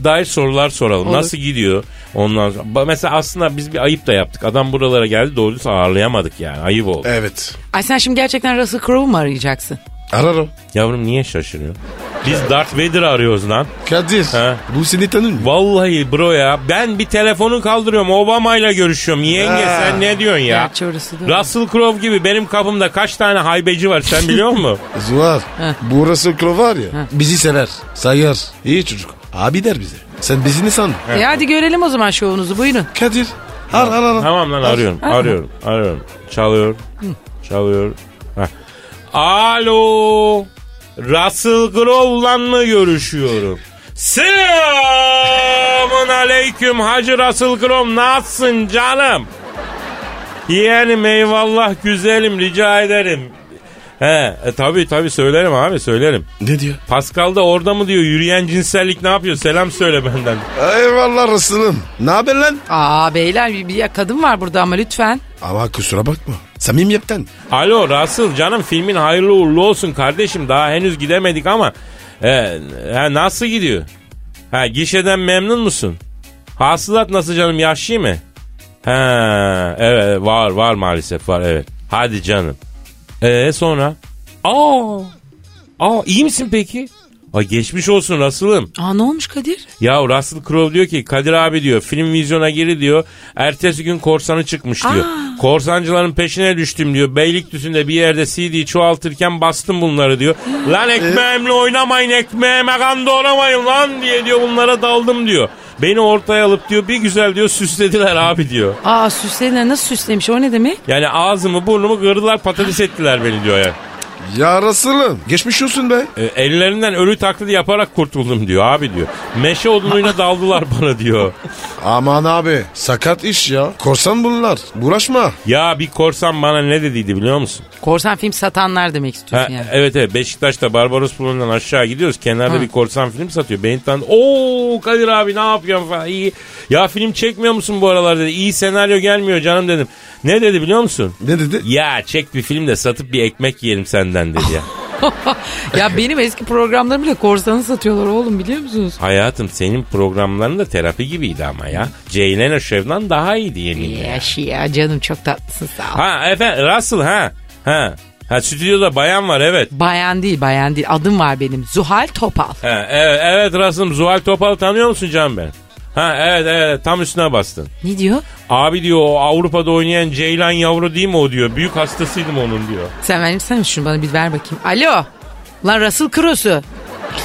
[SPEAKER 2] dair sorular soralım.
[SPEAKER 4] Olur.
[SPEAKER 2] Nasıl gidiyor? Ondan sonra. Ba- Mesela aslında biz bir ayıp da yaptık. Adam buralara geldi doğru düzgün ağırlayamadık yani. Ayıp oldu.
[SPEAKER 3] Evet.
[SPEAKER 4] Ay sen şimdi gerçekten Russell Crowe mu arayacaksın?
[SPEAKER 3] Ararım.
[SPEAKER 2] Yavrum niye şaşırıyorsun? Biz Darth Vader'ı arıyoruz lan.
[SPEAKER 3] Kadir.
[SPEAKER 2] Ha.
[SPEAKER 3] Bu seni tanır mı?
[SPEAKER 2] Vallahi bro ya ben bir telefonu kaldırıyorum Obama'yla görüşüyorum. Yenge
[SPEAKER 3] Ha.
[SPEAKER 2] sen ne diyorsun ya?
[SPEAKER 4] Gerçi orası da.
[SPEAKER 2] Russell Crowe gibi benim kapımda kaç tane haybeci var sen biliyor musun?
[SPEAKER 3] Zuhar. Bu Russell Crowe var ya. Bizi sever. Sayar. İyi çocuk. Abi der bize. Sen bizi ne sandın?
[SPEAKER 4] E hadi görelim o zaman şovunuzu buyurun.
[SPEAKER 3] Kadir. Ar ar ar.
[SPEAKER 2] tamam lan arıyorum, arıyorum, arıyorum. Çalıyor, çalıyor. Heh. Alo, Russell Crowe'la mı görüşüyorum? Selamun aleyküm Hacı Russell Crowe nasılsın canım? Yeğenim eyvallah güzelim rica ederim. He, e, tabii tabii söylerim abi söylerim.
[SPEAKER 3] Ne diyor?
[SPEAKER 2] Pascal da orada mı diyor yürüyen cinsellik ne yapıyor selam söyle benden.
[SPEAKER 3] Eyvallah Russell'ım. Ne haber lan?
[SPEAKER 4] Aa beyler bir, bir ya kadın var burada ama lütfen.
[SPEAKER 3] Ama kusura bakma. Samimiyetten.
[SPEAKER 2] Alo Russell canım filmin hayırlı uğurlu olsun kardeşim. Daha henüz gidemedik ama e, e, nasıl gidiyor? Ha gişeden memnun musun? Hasılat nasıl canım yaşlı mı? Ha evet var var maalesef var evet. Hadi canım. E sonra? Aa, aa iyi misin peki? Ay geçmiş olsun Russell'ım.
[SPEAKER 4] Aa ne olmuş Kadir?
[SPEAKER 2] Ya Russell Crowe diyor ki Kadir abi diyor film vizyona geri diyor. Ertesi gün korsanı çıkmış diyor. Korsancıların peşine düştüm diyor. Beylikdüzü'nde bir yerde CD çoğaltırken bastım bunları diyor. Lan ekmeğimle oynamayın ekmeğime kan doğramayın lan diye diyor bunlara daldım diyor. Beni ortaya alıp diyor bir güzel diyor süslediler abi diyor.
[SPEAKER 4] Aa süslerine nasıl süslemiş o ne demek?
[SPEAKER 2] Yani ağzımı burnumu kırdılar patates ettiler beni diyor ya.
[SPEAKER 3] Ya Russell'ım. Geçmiş olsun be.
[SPEAKER 2] E, ellerinden ölü taklidi yaparak kurtuldum diyor abi diyor. Meşe odunuyla daldılar bana diyor.
[SPEAKER 3] Aman abi. Sakat iş ya. Korsan bunlar. Uğraşma.
[SPEAKER 2] Ya bir korsan bana ne dediydi biliyor musun?
[SPEAKER 4] Korsan film satanlar demek istiyorsun
[SPEAKER 2] Ha,
[SPEAKER 4] yani.
[SPEAKER 2] Evet evet Beşiktaş'ta Barbaros Bulun'dan aşağı gidiyoruz. Kenarda
[SPEAKER 4] Ha.
[SPEAKER 2] bir korsan film satıyor. Beni tanıdı. Ooo Kadir abi ne yapıyorsun falan iyi. Ya film çekmiyor musun bu aralar dedi. İyi senaryo gelmiyor canım dedim. Ne dedi biliyor musun?
[SPEAKER 3] Ne dedi?
[SPEAKER 2] Ya çek bir film de satıp bir ekmek yiyelim senden dedi ya.
[SPEAKER 4] ya benim eski programlarım bile korsanı satıyorlar oğlum biliyor musunuz?
[SPEAKER 2] Hayatım senin programların da terapi gibiydi ama ya. Ceylan Şevdan daha iyiydi yeminle.
[SPEAKER 4] Yaşı ya canım çok tatlısın sağ ol.
[SPEAKER 2] Ha efendim Russell ha. Ha. Ha stüdyoda bayan var evet.
[SPEAKER 4] Bayan değil bayan değil adım var benim Zuhal Topal.
[SPEAKER 2] Ha, evet, evet Rasim Zuhal Topal tanıyor musun Can ben? Ha evet evet tam üstüne bastın.
[SPEAKER 4] Ne diyor?
[SPEAKER 2] Abi diyor o Avrupa'da oynayan Ceylan Yavru değil mi o diyor. Büyük hastasıydım onun diyor.
[SPEAKER 4] Sen verirsen şunu bana bir ver bakayım. Alo. Lan Russell Crowe'su.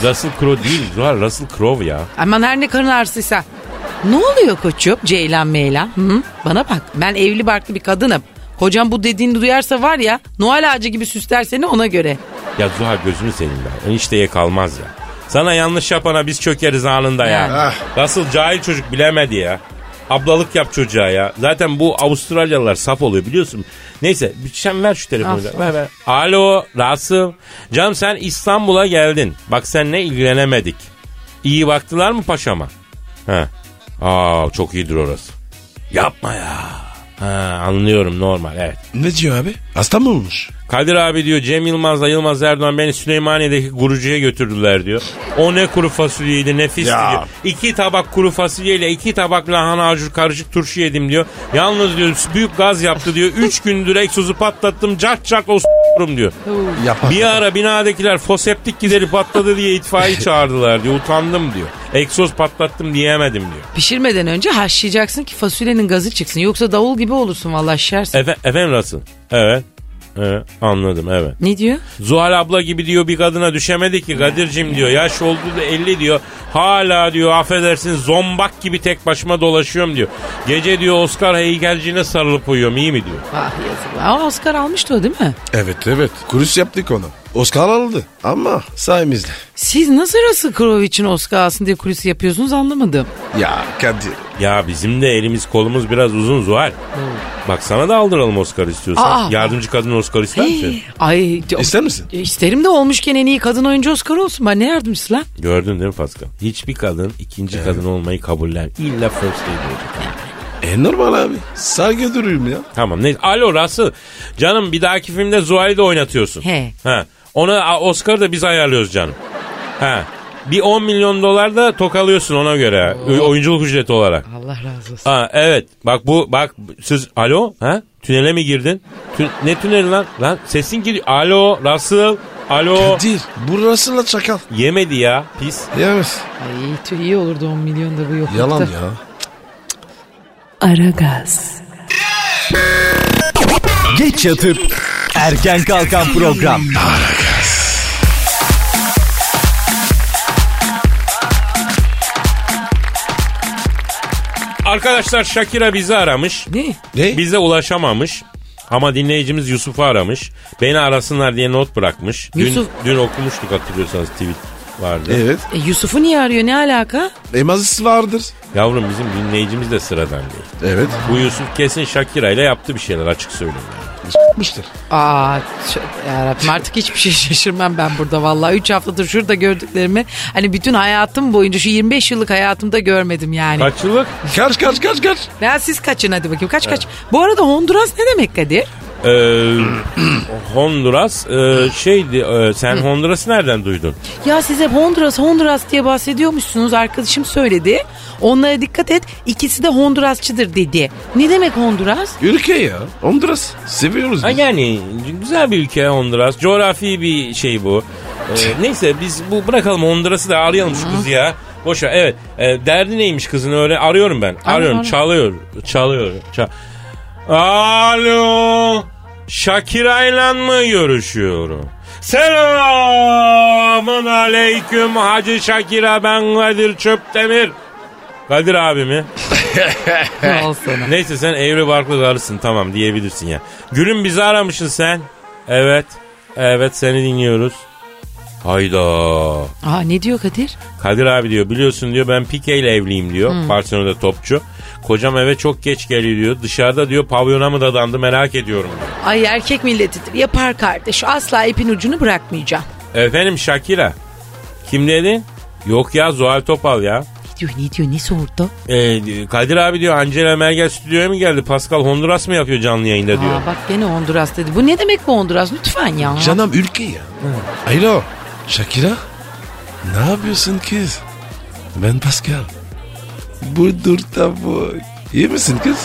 [SPEAKER 2] Russell Crowe değil Zuhal Russell Crowe ya.
[SPEAKER 4] Aman her ne karın ağrısıysa. Ne oluyor koçum? Ceylan meylan. Hı? Bana bak ben evli barklı bir kadınım. Kocam bu dediğini duyarsa var ya Noel ağacı gibi süsler seni ona göre.
[SPEAKER 2] Ya Zuhal gözünü seveyim ben. Hani Enişteye kalmaz ya. Sana yanlış yapana biz çökeriz anında ya.
[SPEAKER 3] Yani.
[SPEAKER 2] Russell cahil çocuk bilemedi ya. Ablalık yap çocuğa ya. Zaten bu Avustralyalılar saf oluyor biliyorsun. Neyse bir- sen ver şu telefonu. da. Ah. Ver, ver. Alo Rasim. Canım sen İstanbul'a geldin. Bak seninle ilgilenemedik. İyi baktılar mı paşama? He. Aa çok iyidir orası. Yapma ya. Ha, anlıyorum normal evet.
[SPEAKER 3] Ne diyor abi? Hasta mı olmuş?
[SPEAKER 2] Kadir abi diyor Cem Yılmaz'la Yılmaz Erdoğan beni Süleymaniye'deki gurucuya götürdüler diyor. O ne kuru fasulyeydi nefisti
[SPEAKER 3] Ya.
[SPEAKER 2] diyor. İki tabak kuru fasulyeyle iki tabak lahana acur karışık turşu yedim diyor. Yalnız diyor büyük gaz yaptı diyor. Üç gündür egzozu patlattım cart cart o s**rum diyor.
[SPEAKER 3] Yapar.
[SPEAKER 2] Bir ara binadakiler foseptik gideri patladı diye itfaiye çağırdılar diyor. Utandım diyor. Egzoz patlattım diyemedim diyor.
[SPEAKER 4] Pişirmeden önce haşlayacaksın ki fasulyenin gazı çıksın. Yoksa davul gibi olursun vallahi şişersin.
[SPEAKER 2] Efe, efendim Rasul? Evet. Evet anladım evet.
[SPEAKER 4] Ne diyor?
[SPEAKER 2] Zuhal abla gibi diyor bir kadına düşemedi ki Kadir'cim diyor. Yaş oldu da 50 diyor. Hala diyor affedersin zombak gibi tek başıma dolaşıyorum diyor. Gece diyor Oscar heykelcine sarılıp uyuyorum iyi mi diyor.
[SPEAKER 4] Ah yazık. Ama Oscar almıştı o değil mi?
[SPEAKER 3] Evet evet. Kuruş yaptık onu. Oscar aldı ama sayemizde.
[SPEAKER 4] Siz nasıl Russell Crowe için Oscar alsın diye kulisi yapıyorsunuz anlamadım.
[SPEAKER 3] Ya Kadir.
[SPEAKER 2] Ya bizim de elimiz kolumuz biraz uzun Zuhal. Bak sana da aldıralım Oscar istiyorsan.
[SPEAKER 4] Aa.
[SPEAKER 2] Yardımcı kadın Oscar ister misin?
[SPEAKER 4] Ay c-
[SPEAKER 3] İster misin?
[SPEAKER 4] e, isterim de olmuşken en iyi kadın oyuncu Oscar olsun. Ben ne yardımcısı lan?
[SPEAKER 2] Gördün değil mi Pascal? Hiçbir kadın ikinci kadın olmayı kabullen. İlla first lady olacak.
[SPEAKER 3] E normal abi. Saygı duruyum ya.
[SPEAKER 2] Tamam neyse. Alo Russell. Canım bir dahaki filmde Zuhal'i de oynatıyorsun.
[SPEAKER 4] He.
[SPEAKER 2] Ha. Ona a, Oscar'ı da biz ayarlıyoruz canım. Ha. Bir 10 milyon dolar da tokalıyorsun ona göre. Ö- Oyunculuk ücreti olarak.
[SPEAKER 4] Allah razı olsun.
[SPEAKER 2] Ha evet. Bak bu bak siz alo ha? Tünele mi girdin? Tün- ne tüneli lan? Lan sesin geliyor. Alo Russell. Alo.
[SPEAKER 3] Kadir. Burası la çakal.
[SPEAKER 2] Yemedi ya pis.
[SPEAKER 3] Yemez.
[SPEAKER 4] Ay tüh, iyi olurdu 10 milyon da bu yoklukta.
[SPEAKER 3] Yalan ya.
[SPEAKER 1] Aragaz,
[SPEAKER 5] Geç yatıp erken kalkan program.
[SPEAKER 2] Arkadaşlar Shakira bizi aramış.
[SPEAKER 4] Ne?
[SPEAKER 3] Ne?
[SPEAKER 2] Bize ulaşamamış. Ama dinleyicimiz Yusuf'u aramış. Beni arasınlar diye not bırakmış.
[SPEAKER 4] Yusuf-
[SPEAKER 2] Dün, dün okumuştuk hatırlıyorsanız tweet vardı.
[SPEAKER 3] Evet.
[SPEAKER 4] E, Yusuf'u niye arıyor? Ne alaka?
[SPEAKER 3] Emazisi vardır.
[SPEAKER 2] Yavrum bizim dinleyicimiz de sıradan değil.
[SPEAKER 3] Evet.
[SPEAKER 2] Bu Yusuf kesin Shakira ile yaptı bir şeyler açık söyleyeyim. yani.
[SPEAKER 3] Mıştır.
[SPEAKER 4] Aa ç- yarabbim artık hiçbir şey şaşırmam ben burada vallahi. 3 haftadır şurada gördüklerimi hani bütün hayatım boyunca şu 25 yıllık hayatımda görmedim yani.
[SPEAKER 2] Kaç yıllık?
[SPEAKER 3] Kaç kaç kaç kaç.
[SPEAKER 4] Ya siz kaçın hadi bakayım kaç kaç. Bu arada Honduras ne demek Kadir?
[SPEAKER 2] Ee, Honduras e, şeydi e, sen Honduras'ı nereden duydun?
[SPEAKER 4] Ya size Honduras Honduras diye bahsediyormuşsunuz arkadaşım söyledi. Onlara dikkat et ikisi de Hondurasçıdır dedi. Ne demek Honduras?
[SPEAKER 3] Ülke ya. Honduras. Seviyoruz
[SPEAKER 2] Ha
[SPEAKER 3] biz.
[SPEAKER 2] yani güzel bir ülke Honduras. Coğrafi bir şey bu. Ee, neyse biz bu bırakalım Honduras'ı da arayalım şu kızı ya. Boş ver. Evet. Ee, derdi neymiş kızın öyle? Arıyorum ben. Arıyorum.
[SPEAKER 4] ara.
[SPEAKER 2] Çalıyor. Çalıyor. Çal- Alo. Şakira'yla mı görüşüyorum? Selamun aleyküm Hacı Şakira ben Kadir Çöptemir. Kadir abi mi?
[SPEAKER 4] Al sana.
[SPEAKER 2] Neyse sen evli barklı karısın tamam diyebilirsin ya. Gülüm bizi aramışsın sen. Evet. Evet seni dinliyoruz. Hayda.
[SPEAKER 4] Aa ne diyor Kadir?
[SPEAKER 2] Kadir abi diyor biliyorsun diyor ben Pique ile evliyim diyor. Barcelona'da topçu. Kocam eve çok geç geliyor diyor. Dışarıda diyor pavyona mı dadandı merak ediyorum diyor.
[SPEAKER 4] Ay erkek milletidir yapar kardeş asla ipin ucunu bırakmayacağım.
[SPEAKER 2] Efendim Shakira. Kim dedi? Yok ya Zuhal Topal ya.
[SPEAKER 4] Ne diyor ne diyor ne sordu?
[SPEAKER 2] Ee, Kadir abi diyor Angela Merkel stüdyoya mı geldi? Pascal Honduras mı yapıyor canlı yayında diyor.
[SPEAKER 4] Aa, bak gene Honduras dedi. Bu ne demek bu Honduras? Lütfen ya.
[SPEAKER 3] Canım ülke ya. Alo. Şakira. Ne yapıyorsun kız? Ben Pascal. Bu dur bu. İyi misin kız?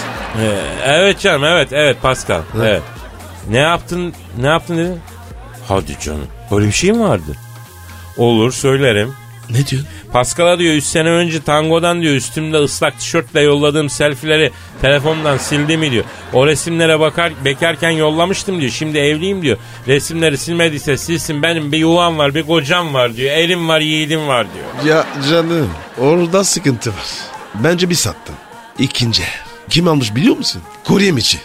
[SPEAKER 2] Ee, evet canım evet evet Pascal. Evet. Ne yaptın ne yaptın dedin? Hadi canım. Böyle bir şey mi vardı? Olur söylerim.
[SPEAKER 3] Ne diyorsun?
[SPEAKER 2] Pascal'a diyor 3 sene önce tangodan diyor üstümde ıslak tişörtle yolladığım selfileri telefondan sildi mi diyor. O resimlere bakar bekarken yollamıştım diyor. Şimdi evliyim diyor. Resimleri silmediyse silsin benim bir yuvam var bir kocam var diyor. Elim var yiğidim var diyor.
[SPEAKER 3] Ya canım orada sıkıntı var. Bence bir sattın. İkinci. Kim almış biliyor musun? Kurye içi.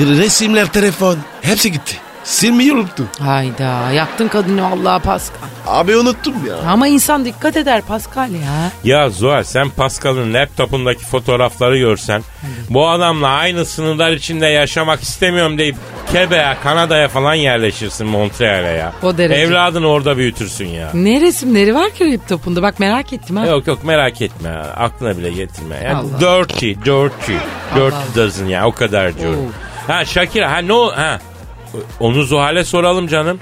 [SPEAKER 3] Resimler, telefon. Hepsi gitti. Silmeyi unuttum.
[SPEAKER 4] Hayda yaktın kadını Allah Pascal.
[SPEAKER 3] Abi unuttum ya.
[SPEAKER 4] Ama insan dikkat eder Pascal ya.
[SPEAKER 2] Ya Zuhal sen Pascal'ın laptopundaki fotoğrafları görsen bu adamla aynı sınırlar içinde yaşamak istemiyorum deyip Quebec'e Kanada'ya falan yerleşirsin Montreal'e ya.
[SPEAKER 4] O derece.
[SPEAKER 2] Evladını orada büyütürsün ya.
[SPEAKER 4] Ne resimleri var ki laptopunda bak merak ettim ha.
[SPEAKER 2] Yok yok merak etme ya. aklına bile getirme. Yani
[SPEAKER 4] Allah.
[SPEAKER 2] dirty, dirty, dirty
[SPEAKER 4] Allah.
[SPEAKER 2] dozen ya o kadar diyorum. Ha Shakira ha ne ol- ha Onu Zuhal'e soralım canım.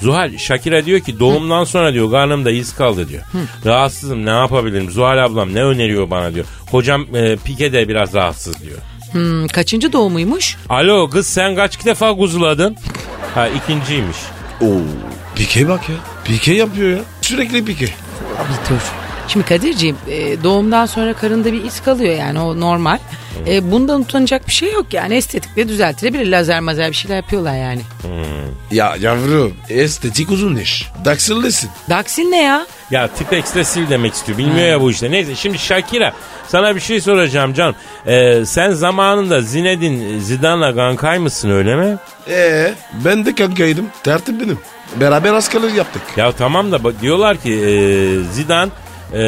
[SPEAKER 2] Zuhal Şakira diyor ki doğumdan sonra diyor karnımda iz kaldı diyor. Rahatsızım ne yapabilirim? Zuhal ablam ne öneriyor bana diyor. Hocam e, Pike de biraz rahatsız diyor.
[SPEAKER 4] Hmm, kaçıncı doğumuymuş?
[SPEAKER 2] Alo kız sen kaç defa kuzuladın? Ha ikinciymiş.
[SPEAKER 3] Oo. Pike bak ya. Pike yapıyor ya. Sürekli pike.
[SPEAKER 4] Bir dur. Şimdi Kadir'ciğim e, doğumdan sonra karında bir iz kalıyor yani o normal. E, bundan utanacak bir şey yok yani estetikle düzeltilebilir. Lazer mazer bir şeyler yapıyorlar yani.
[SPEAKER 3] Ya yavrum estetik uzun iş. Daksırlısın.
[SPEAKER 4] Daksil ne ya?
[SPEAKER 2] Ya tipexte sil demek istiyor. Bilmiyor ya bu işte. Neyse şimdi Shakira sana bir şey soracağım canım. Ee, sen zamanında Zinedine Zidane'la gankay mısın öyle mi?
[SPEAKER 3] Ee, ben de kankaydım. Tertip benim. Beraber askerlik yaptık.
[SPEAKER 2] Ya tamam da bak- diyorlar ki e, Zidane e,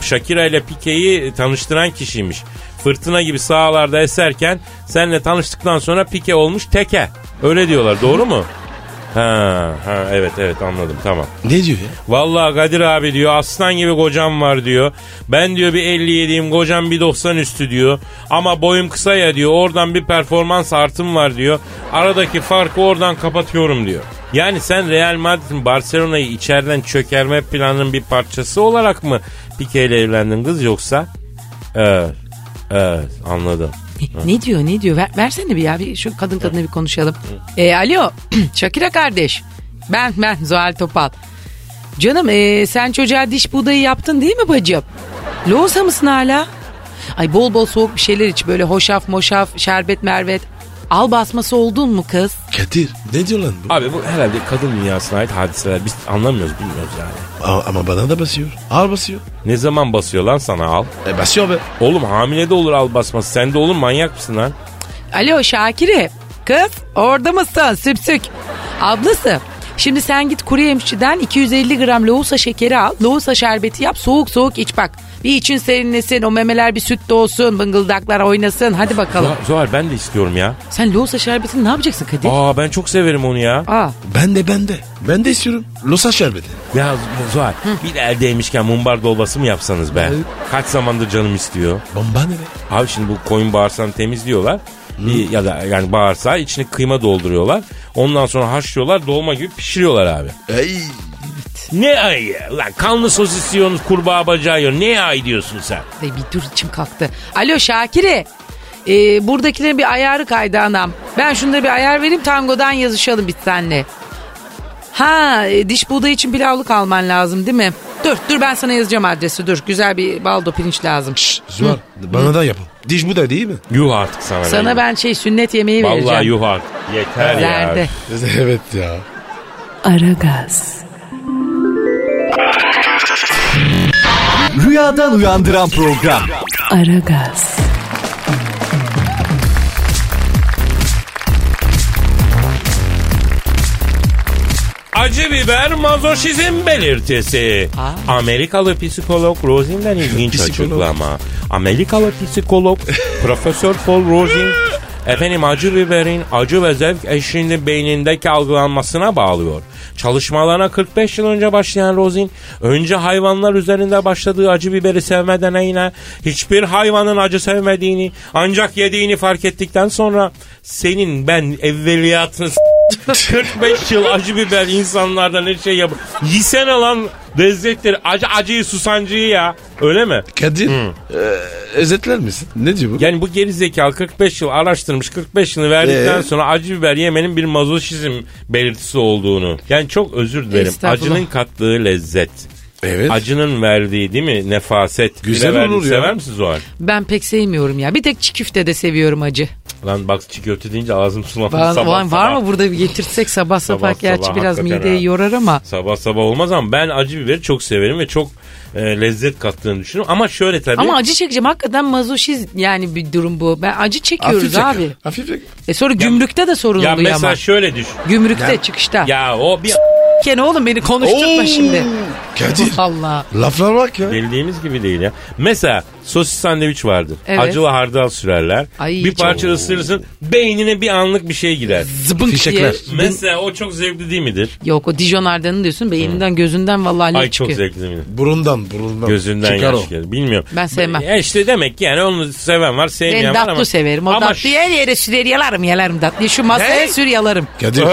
[SPEAKER 2] Shakira ile Pique'yi tanıştıran kişiymiş. Fırtına gibi sahalarda eserken senle tanıştıktan sonra Pique olmuş teke. Öyle diyorlar doğru mu? Ha, ha evet evet anladım tamam.
[SPEAKER 3] Ne diyor ya?
[SPEAKER 2] Vallahi Kadir abi diyor aslan gibi kocam var diyor. Ben diyor bir 57'yim kocam bir 90 üstü diyor. Ama boyum kısa ya diyor oradan bir performans artım var diyor. Aradaki farkı oradan kapatıyorum diyor. Yani sen Real Madrid'in Barcelona'yı içeriden çökerme planının bir parçası olarak mı Pique ile evlendin kız yoksa? Evet. Evet anladım.
[SPEAKER 4] Ne- Ne diyor ne diyor Ver, versene bir ya bir şu kadın kadına bir konuşalım. E, alo Şakira kardeş ben ben Zuhal Topal. Canım e, sen çocuğa diş budayı yaptın değil mi bacım? Loğusa mısın hala? Ay bol bol soğuk bir şeyler iç böyle hoşaf moşaf şerbet mervet. Al basması oldun mu kız?
[SPEAKER 3] Kadir ne diyor lan bu?
[SPEAKER 2] Abi bu herhalde kadın dünyasına ait hadiseler. Biz anlamıyoruz bilmiyoruz yani.
[SPEAKER 3] A- ama bana da basıyor. Ağır basıyor.
[SPEAKER 2] Ne zaman basıyor lan sana al?
[SPEAKER 3] E basıyor be.
[SPEAKER 2] Oğlum hamile de olur al basması. Sen de olur manyak mısın lan?
[SPEAKER 4] Alo Şakiri. Kız orada mısın? Sümsük. Ablası. Şimdi sen git kuru yemişçiden 250 gram lohusa şekeri al. Lohusa şerbeti yap. Soğuk soğuk iç bak. Bir için serinlesin. O memeler bir süt doğsun. Bıngıldaklar oynasın. Hadi bakalım.
[SPEAKER 2] Zuhal- Zuhal ben de istiyorum ya.
[SPEAKER 4] Sen lohusa şerbetini ne yapacaksın Kadir? Aa.
[SPEAKER 2] Aa ben çok severim onu ya.
[SPEAKER 3] Ben de ben de. Ben de istiyorum. Losa şerbeti.
[SPEAKER 2] Ya Z- Zuhal bir de el değmişken mumbar dolması mı yapsanız be? Kaç zamandır canım istiyor.
[SPEAKER 3] Bomba ne be?
[SPEAKER 2] Abi şimdi bu koyun bağırsağını temizliyorlar. Bir- Ya da yani bağırsağı içine kıyma dolduruyorlar. Ondan sonra haşlıyorlar dolma gibi pişiriyorlar abi.
[SPEAKER 3] Ey.
[SPEAKER 2] Ne ayı? Lan kanlı sos istiyorsunuz kurbağa bacağı yiyor. Ne ay diyorsun sen?
[SPEAKER 4] Ay, bir dur içim kalktı. Alo Şakiri. Ee, buradakilerin bir ayarı kaydı anam. Ben şunlara bir ayar vereyim tangodan yazışalım biz senle. Ha e, diş buğdayı için pilavlık alman lazım değil mi? Dur dur ben sana yazacağım adresi dur. Güzel bir baldo pirinç lazım.
[SPEAKER 3] Zuhal bana da yapın. Diş bu da değil mi?
[SPEAKER 2] Yuh artık sana.
[SPEAKER 4] Sana ben şey sünnet yemeği
[SPEAKER 2] Vallahi
[SPEAKER 4] vereceğim.
[SPEAKER 2] yuh artık. Yeter ya.
[SPEAKER 4] Zerde.
[SPEAKER 3] evet ya.
[SPEAKER 1] Aragaz,
[SPEAKER 5] Rüyadan uyandıran program.
[SPEAKER 1] Aragaz,
[SPEAKER 2] Acı biber mazoşizm belirtisi.
[SPEAKER 4] Aa.
[SPEAKER 2] Amerikalı psikolog Rosen'den ilginç
[SPEAKER 3] Psikolog.
[SPEAKER 2] açıklama. Amerikalı psikolog Profesör Paul Rosen efendim acı biberin acı ve zevk eşiğinin beynindeki algılanmasına bağlıyor. Çalışmalarına 45 yıl önce başlayan Rosen önce hayvanlar üzerinde başladığı acı biberi sevme deneyine hiçbir hayvanın acı sevmediğini ancak yediğini fark ettikten sonra senin ben evveliyatını s- 45 yıl acı biber insanlardan ne şey yap. Yisene lan lezzetleri. Acı acıyı susancıyı ya. Öyle mi?
[SPEAKER 3] Kadir. e, özetler misin? Ne diyor bu?
[SPEAKER 2] Yani bu geri zekalı 45 yıl araştırmış 45 yılını verdikten
[SPEAKER 3] Ee?
[SPEAKER 2] sonra acı biber yemenin bir mazoşizm belirtisi olduğunu. Yani çok özür dilerim.
[SPEAKER 4] Estağfurullah.
[SPEAKER 2] Acının kattığı lezzet.
[SPEAKER 3] evet.
[SPEAKER 2] Acının verdiği değil mi nefaset.
[SPEAKER 3] Güzel
[SPEAKER 2] Bir de verdiği-
[SPEAKER 3] olur ya.
[SPEAKER 2] Sever misin Zuhal?
[SPEAKER 4] Ben pek sevmiyorum ya. Bir tek çiğ köfte de seviyorum acı.
[SPEAKER 2] Lan bak çiğ köfte deyince ağzım sulandı
[SPEAKER 4] Var,
[SPEAKER 2] sabah
[SPEAKER 4] var, var
[SPEAKER 2] sabah.
[SPEAKER 4] mı burada bir getirsek sabah sabah,
[SPEAKER 2] Sabah
[SPEAKER 4] gerçi
[SPEAKER 2] sabah
[SPEAKER 4] biraz
[SPEAKER 2] hakikaten
[SPEAKER 4] mideyi
[SPEAKER 2] ha.
[SPEAKER 4] yorar ama.
[SPEAKER 2] Sabah sabah olmaz ama ben acı biberi çok severim ve çok e, lezzet kattığını düşünüyorum. Ama şöyle tabii.
[SPEAKER 4] Ama acı çekeceğim hakikaten mazoşizm yani bir durum bu. Ben acı
[SPEAKER 3] Hafif
[SPEAKER 4] çekiyoruz
[SPEAKER 3] yakın,
[SPEAKER 4] abi.
[SPEAKER 3] Hafif yakın.
[SPEAKER 4] E sonra gümrükte de sorun
[SPEAKER 2] ya
[SPEAKER 4] oluyor
[SPEAKER 2] mesela
[SPEAKER 4] ama.
[SPEAKER 2] şöyle düşün.
[SPEAKER 4] Gümrükte çıkışta.
[SPEAKER 2] Ya o bir
[SPEAKER 4] s**ken oğlum beni konuşturma
[SPEAKER 3] Oo,
[SPEAKER 4] şimdi.
[SPEAKER 3] Kadir.
[SPEAKER 4] Allah.
[SPEAKER 3] Laflar bak ya.
[SPEAKER 2] Bildiğimiz gibi değil ya. Mesela sosis sandviç vardır.
[SPEAKER 4] Evet.
[SPEAKER 2] Acılı hardal sürerler.
[SPEAKER 4] Ay,
[SPEAKER 2] bir parça ısırırsın beynine bir anlık bir şey girer.
[SPEAKER 4] Zıbınk
[SPEAKER 3] Fişekler.
[SPEAKER 4] diye.
[SPEAKER 2] Mesela o çok zevkli değil midir?
[SPEAKER 4] Yok o Dijon Ardan'ı diyorsun beyninden gözünden vallahi
[SPEAKER 2] Ay
[SPEAKER 4] alev
[SPEAKER 2] çok
[SPEAKER 4] çıkıyor.
[SPEAKER 2] zevkli değil midir?
[SPEAKER 3] Burundan burundan.
[SPEAKER 2] Gözünden
[SPEAKER 3] Çıkar
[SPEAKER 2] yaş
[SPEAKER 3] o.
[SPEAKER 2] gelir. Bilmiyorum.
[SPEAKER 4] Ben sevmem.
[SPEAKER 2] Ya işte demek ki yani onu seven var sevmeyen
[SPEAKER 4] Ben
[SPEAKER 2] var ama.
[SPEAKER 4] tatlı severim. O
[SPEAKER 2] ama
[SPEAKER 4] tatlıyı her yere sürer yalarım yalarım tatlıyı. Şu masaya sür yalarım.
[SPEAKER 3] Kadir.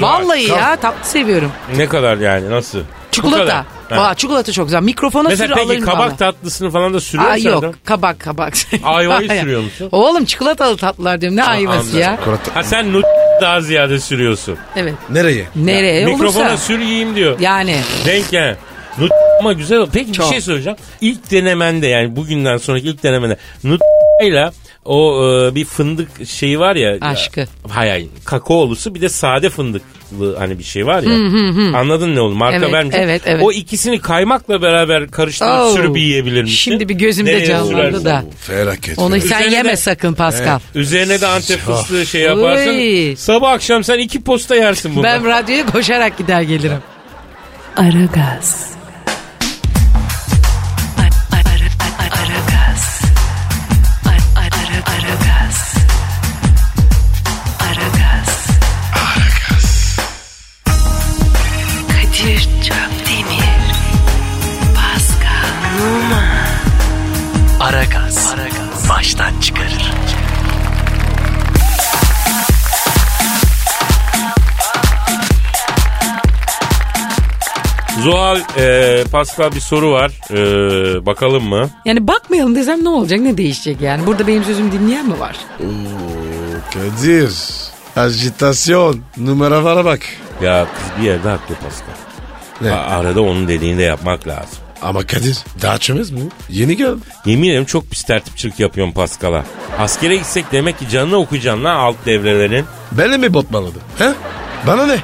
[SPEAKER 4] Vallahi ya tatlı seviyorum.
[SPEAKER 2] şu- Ne kadar yani nasıl? Bu kadar.
[SPEAKER 4] Çikolata.
[SPEAKER 2] Ha.
[SPEAKER 4] Aa, çikolata çok güzel. Mikrofona sür
[SPEAKER 2] Mesela peki
[SPEAKER 4] alırım
[SPEAKER 2] kabak
[SPEAKER 4] vallahi.
[SPEAKER 2] tatlısını falan da sürüyor
[SPEAKER 4] Aa,
[SPEAKER 2] musun
[SPEAKER 4] yok
[SPEAKER 2] adam?
[SPEAKER 4] kabak kabak.
[SPEAKER 2] Ayvayı sürüyor musun?
[SPEAKER 4] Oğlum çikolatalı tatlılar diyorum ne ayvası ya.
[SPEAKER 3] Kurat-
[SPEAKER 2] Ha sen nut daha ziyade sürüyorsun.
[SPEAKER 4] Evet.
[SPEAKER 3] Nereye?
[SPEAKER 4] Nereye
[SPEAKER 2] Mikrofona
[SPEAKER 4] olursa.
[SPEAKER 2] sür yiyeyim diyor.
[SPEAKER 4] yani
[SPEAKER 2] Denk yani. Nut ama güzel. o. Peki
[SPEAKER 4] Çok.
[SPEAKER 2] bir şey soracağım. İlk denemende yani bugünden sonraki ilk denemende nut ile o e, bir fındık şeyi var ya.
[SPEAKER 4] Aşkı.
[SPEAKER 2] Ya, Hay hay. Kakaolusu bir de sade fındıklı hani bir şey var ya. Anladın ne oğlum? Marka
[SPEAKER 4] Evet,
[SPEAKER 2] vermeyeceğim.
[SPEAKER 4] evet, evet.
[SPEAKER 2] O ikisini kaymakla beraber karıştırıp
[SPEAKER 4] Oo.
[SPEAKER 2] Ah, sürüp yiyebilir misin?
[SPEAKER 4] Oh. Şimdi bir gözümde
[SPEAKER 2] Nereye
[SPEAKER 4] canlandı
[SPEAKER 2] sürersin
[SPEAKER 4] da.
[SPEAKER 2] bu?
[SPEAKER 3] Felaket.
[SPEAKER 4] onu
[SPEAKER 3] felaket.
[SPEAKER 4] sen
[SPEAKER 2] Üzerine
[SPEAKER 4] yeme
[SPEAKER 2] de-
[SPEAKER 4] sakın Pascal.
[SPEAKER 2] Üzerine de antep fıstığı şey yaparsın.
[SPEAKER 4] Oy.
[SPEAKER 2] Sabah akşam sen iki posta yersin bunu.
[SPEAKER 4] Ben radyoya koşarak gider gelirim.
[SPEAKER 1] Aragaz. Aragaz. Aragaz. Aragaz. Kadir Çöpdemir. Pascal Numa.
[SPEAKER 6] Aragaz. Baştan çıkarır.
[SPEAKER 2] Zuhal e, Pascal bir soru var. E, bakalım mı?
[SPEAKER 4] Yani bakmayalım desem ne olacak ne değişecek yani. Burada benim sözümü dinleyen mi var?
[SPEAKER 3] Kadir. Ajitasyon. Numaralara bak.
[SPEAKER 2] Ya kız bir yerde haklı Pascal.
[SPEAKER 3] Ne?
[SPEAKER 2] A- arada onun dediğini de yapmak lazım.
[SPEAKER 3] Ama Kadir daha çömez mi? Yeni geldi.
[SPEAKER 2] Yemin ederim çok pis tertipçilik yapıyorum Pascal'a. Askere gitsek demek ki canını okuyacaksın lan alt devrelerin.
[SPEAKER 3] Beni mi botmaladı? He? Bana ne?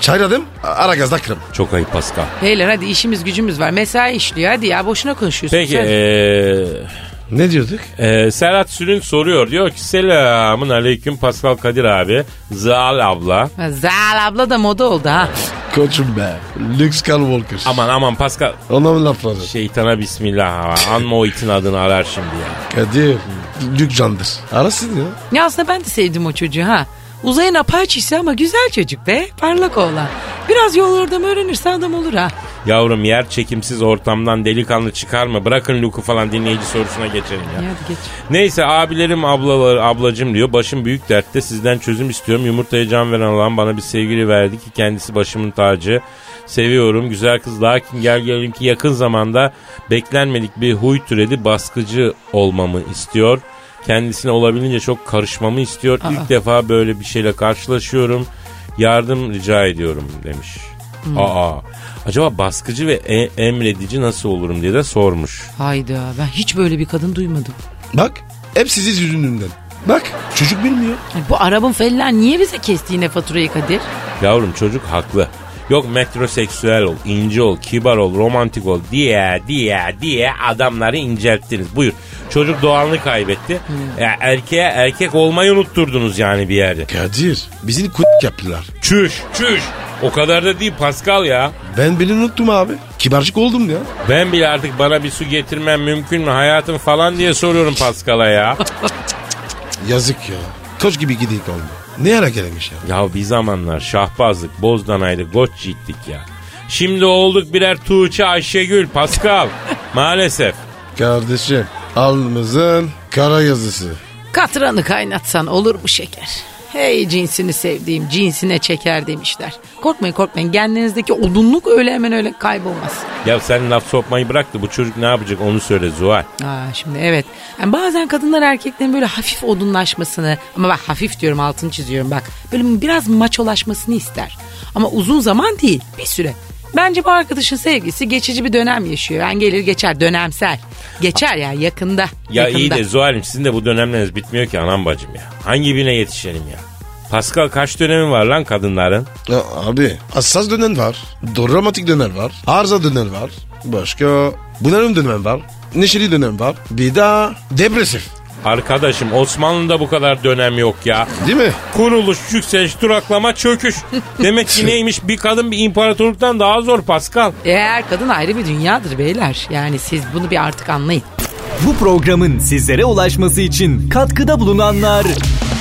[SPEAKER 3] Çayladım. a- Ara gazda kırım.
[SPEAKER 2] Çok ayıp Pascal.
[SPEAKER 4] Beyler hadi işimiz gücümüz var. Mesai işliyor hadi ya boşuna konuşuyorsun.
[SPEAKER 2] Peki
[SPEAKER 4] sen.
[SPEAKER 2] e,
[SPEAKER 3] Ne diyorduk?
[SPEAKER 2] e, Serhat Sürün soruyor. Diyor ki selamın aleyküm Pascal Kadir abi. Zal abla.
[SPEAKER 4] Ha, Zal abla da moda oldu ha.
[SPEAKER 3] Koçum be. Lüks Carl Walker.
[SPEAKER 2] Aman aman Pascal
[SPEAKER 3] Ona mı lafları?
[SPEAKER 2] Şeytana bismillah. Anma o itin adını arar şimdi ya.
[SPEAKER 3] Kadir. Lük candır. Arasın ya.
[SPEAKER 4] Ya aslında ben de sevdim o çocuğu ha. Uzayın apaçisi ama güzel çocuk be. Parlak oğlan. Biraz yol ordamı öğrenirse adam olur ha.
[SPEAKER 2] Yavrum yer çekimsiz ortamdan delikanlı çıkar mı? Bırakın Luke'u falan dinleyici sorusuna geçelim ya.
[SPEAKER 4] Ya hadi geç.
[SPEAKER 2] Neyse abilerim ablalar ablacım diyor. Başım büyük dertte sizden çözüm istiyorum. Yumurtaya can veren Allah'ım bana bir sevgili verdi ki kendisi başımın tacı. Seviyorum güzel kız lakin gel gelelim ki yakın zamanda beklenmedik bir huy türedi baskıcı olmamı istiyor. Kendisine olabildiğince çok karışmamı istiyor. İlk defa böyle bir şeyle karşılaşıyorum. Yardım rica ediyorum demiş. Aa acaba baskıcı ve e- emredici nasıl olurum diye de sormuş.
[SPEAKER 4] Hayda ben hiç böyle bir kadın duymadım.
[SPEAKER 3] Bak. Hep sizi yüzünden. Bak. Çocuk bilmiyor.
[SPEAKER 4] Ay, Bu Arap'ın fellan niye bize kesti yine faturayı Kadir?
[SPEAKER 2] Yavrum çocuk haklı. Yok metroseksüel ol, ince ol, kibar ol, romantik ol diye diye diye adamları incelttiniz. Buyur. Çocuk doğalını kaybetti. Ya erkeğe erkek olmayı unutturdunuz yani bir yerde.
[SPEAKER 3] Kadir. Bizim kut yaptılar.
[SPEAKER 2] Çüş çüş. O kadar da değil Pascal ya.
[SPEAKER 3] Ben beni unuttum abi. Kibarcık oldum ya.
[SPEAKER 2] Ben bile artık bana bir su getirmen mümkün mü hayatım falan diye soruyorum Pascal'a ya.
[SPEAKER 3] Yazık ya. Koç gibi gidik oldu. Ne ara gelemiş ya?
[SPEAKER 2] ya bir zamanlar şahbazlık, bozdanaydık, goç yiğittik ya. Şimdi olduk birer Tuğçe Ayşegül Pascal. Maalesef.
[SPEAKER 3] Kardeşim. Alnımızın kara yazısı.
[SPEAKER 4] Katranı kaynatsan olur mu şeker? Hey cinsini sevdiğim cinsine çeker demişler. Korkmayın korkmayın kendinizdeki odunluk öyle hemen öyle kaybolmaz.
[SPEAKER 2] Ya sen laf sokmayı bırak da bu çocuk ne yapacak onu söyle Zuhal.
[SPEAKER 4] Aa, şimdi evet. Yani bazen kadınlar erkeklerin böyle hafif odunlaşmasını ama bak hafif diyorum altını çiziyorum bak. Böyle biraz maçolaşmasını ister. Ama uzun zaman değil bir süre. Bence bu arkadaşın sevgisi geçici bir dönem yaşıyor. Yani gelir geçer dönemsel. Geçer ya yakında.
[SPEAKER 2] Ya
[SPEAKER 4] yakında.
[SPEAKER 2] iyi de Zuhal'im sizin de bu dönemleriniz bitmiyor ki anam bacım ya. Hangi birine yetişelim ya? Pascal kaç dönemi var lan kadınların?
[SPEAKER 3] Ya abi hassas dönen var. Dramatik dönen var. Arıza dönen var. Başka bunalım dönen var. Neşeli dönem var. Bir daha depresif.
[SPEAKER 2] Arkadaşım Osmanlı'da bu kadar dönem yok ya.
[SPEAKER 3] Değil mi?
[SPEAKER 2] Kuruluş, yükseliş, duraklama, çöküş. Demek ki neymiş bir kadın bir imparatorluktan daha zor Pascal.
[SPEAKER 4] Eğer kadın ayrı bir dünyadır beyler. Yani siz bunu bir artık anlayın.
[SPEAKER 5] Bu programın sizlere ulaşması için katkıda bulunanlar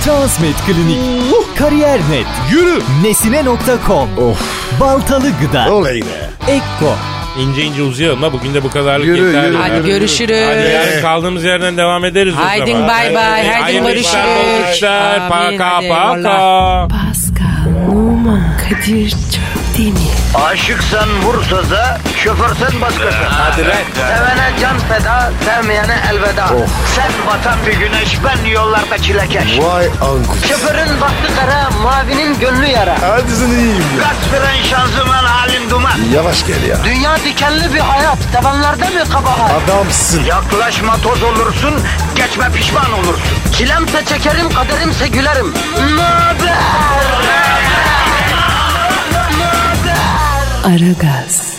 [SPEAKER 5] Transmed Klinik, Kariyer.net,
[SPEAKER 3] Yürü.
[SPEAKER 5] Nesine.com,
[SPEAKER 3] Of.
[SPEAKER 5] Baltalı Gıda,
[SPEAKER 3] Olay be.
[SPEAKER 5] Ekko,
[SPEAKER 2] İnce ince uzayalım da bugün de bu kadarlık
[SPEAKER 3] Yürü,
[SPEAKER 2] yeterli.
[SPEAKER 3] yürü.
[SPEAKER 4] Hadi
[SPEAKER 3] Hadi
[SPEAKER 4] görüşürüz.
[SPEAKER 2] Hadi yarın kaldığımız yerden devam ederiz o
[SPEAKER 4] Haydi
[SPEAKER 2] zaman.
[SPEAKER 4] bay bay, haydi
[SPEAKER 2] Hayırlı
[SPEAKER 4] görüşürüz.
[SPEAKER 2] işler, bol işler.
[SPEAKER 4] Amin,
[SPEAKER 2] Paka
[SPEAKER 4] hadi,
[SPEAKER 2] paka.
[SPEAKER 4] eyvallah.
[SPEAKER 1] Pascal, Numan, Kadir çok değil mi?
[SPEAKER 7] Aşıksan vursa da, şoförsen başkasın. Hadi
[SPEAKER 2] lan.
[SPEAKER 7] Sevene can feda, sevmeyene elveda.
[SPEAKER 3] Oh.
[SPEAKER 7] Sen batan bir güneş, ben yollarda çilekeş.
[SPEAKER 3] Vay anku.
[SPEAKER 7] Şoförün baktı kara, mavinin gönlü yara.
[SPEAKER 3] Hadi sen iyiyim ya.
[SPEAKER 7] Kasperen şanzıman halin duman.
[SPEAKER 3] Yavaş gel ya.
[SPEAKER 7] Dünya dikenli bir hayat, sevenlerde mi kabahar?
[SPEAKER 3] Adamsın.
[SPEAKER 7] Yaklaşma toz olursun, geçme pişman olursun. Çilemse çekerim, kaderimse gülerim. Möber!
[SPEAKER 1] Aragaz.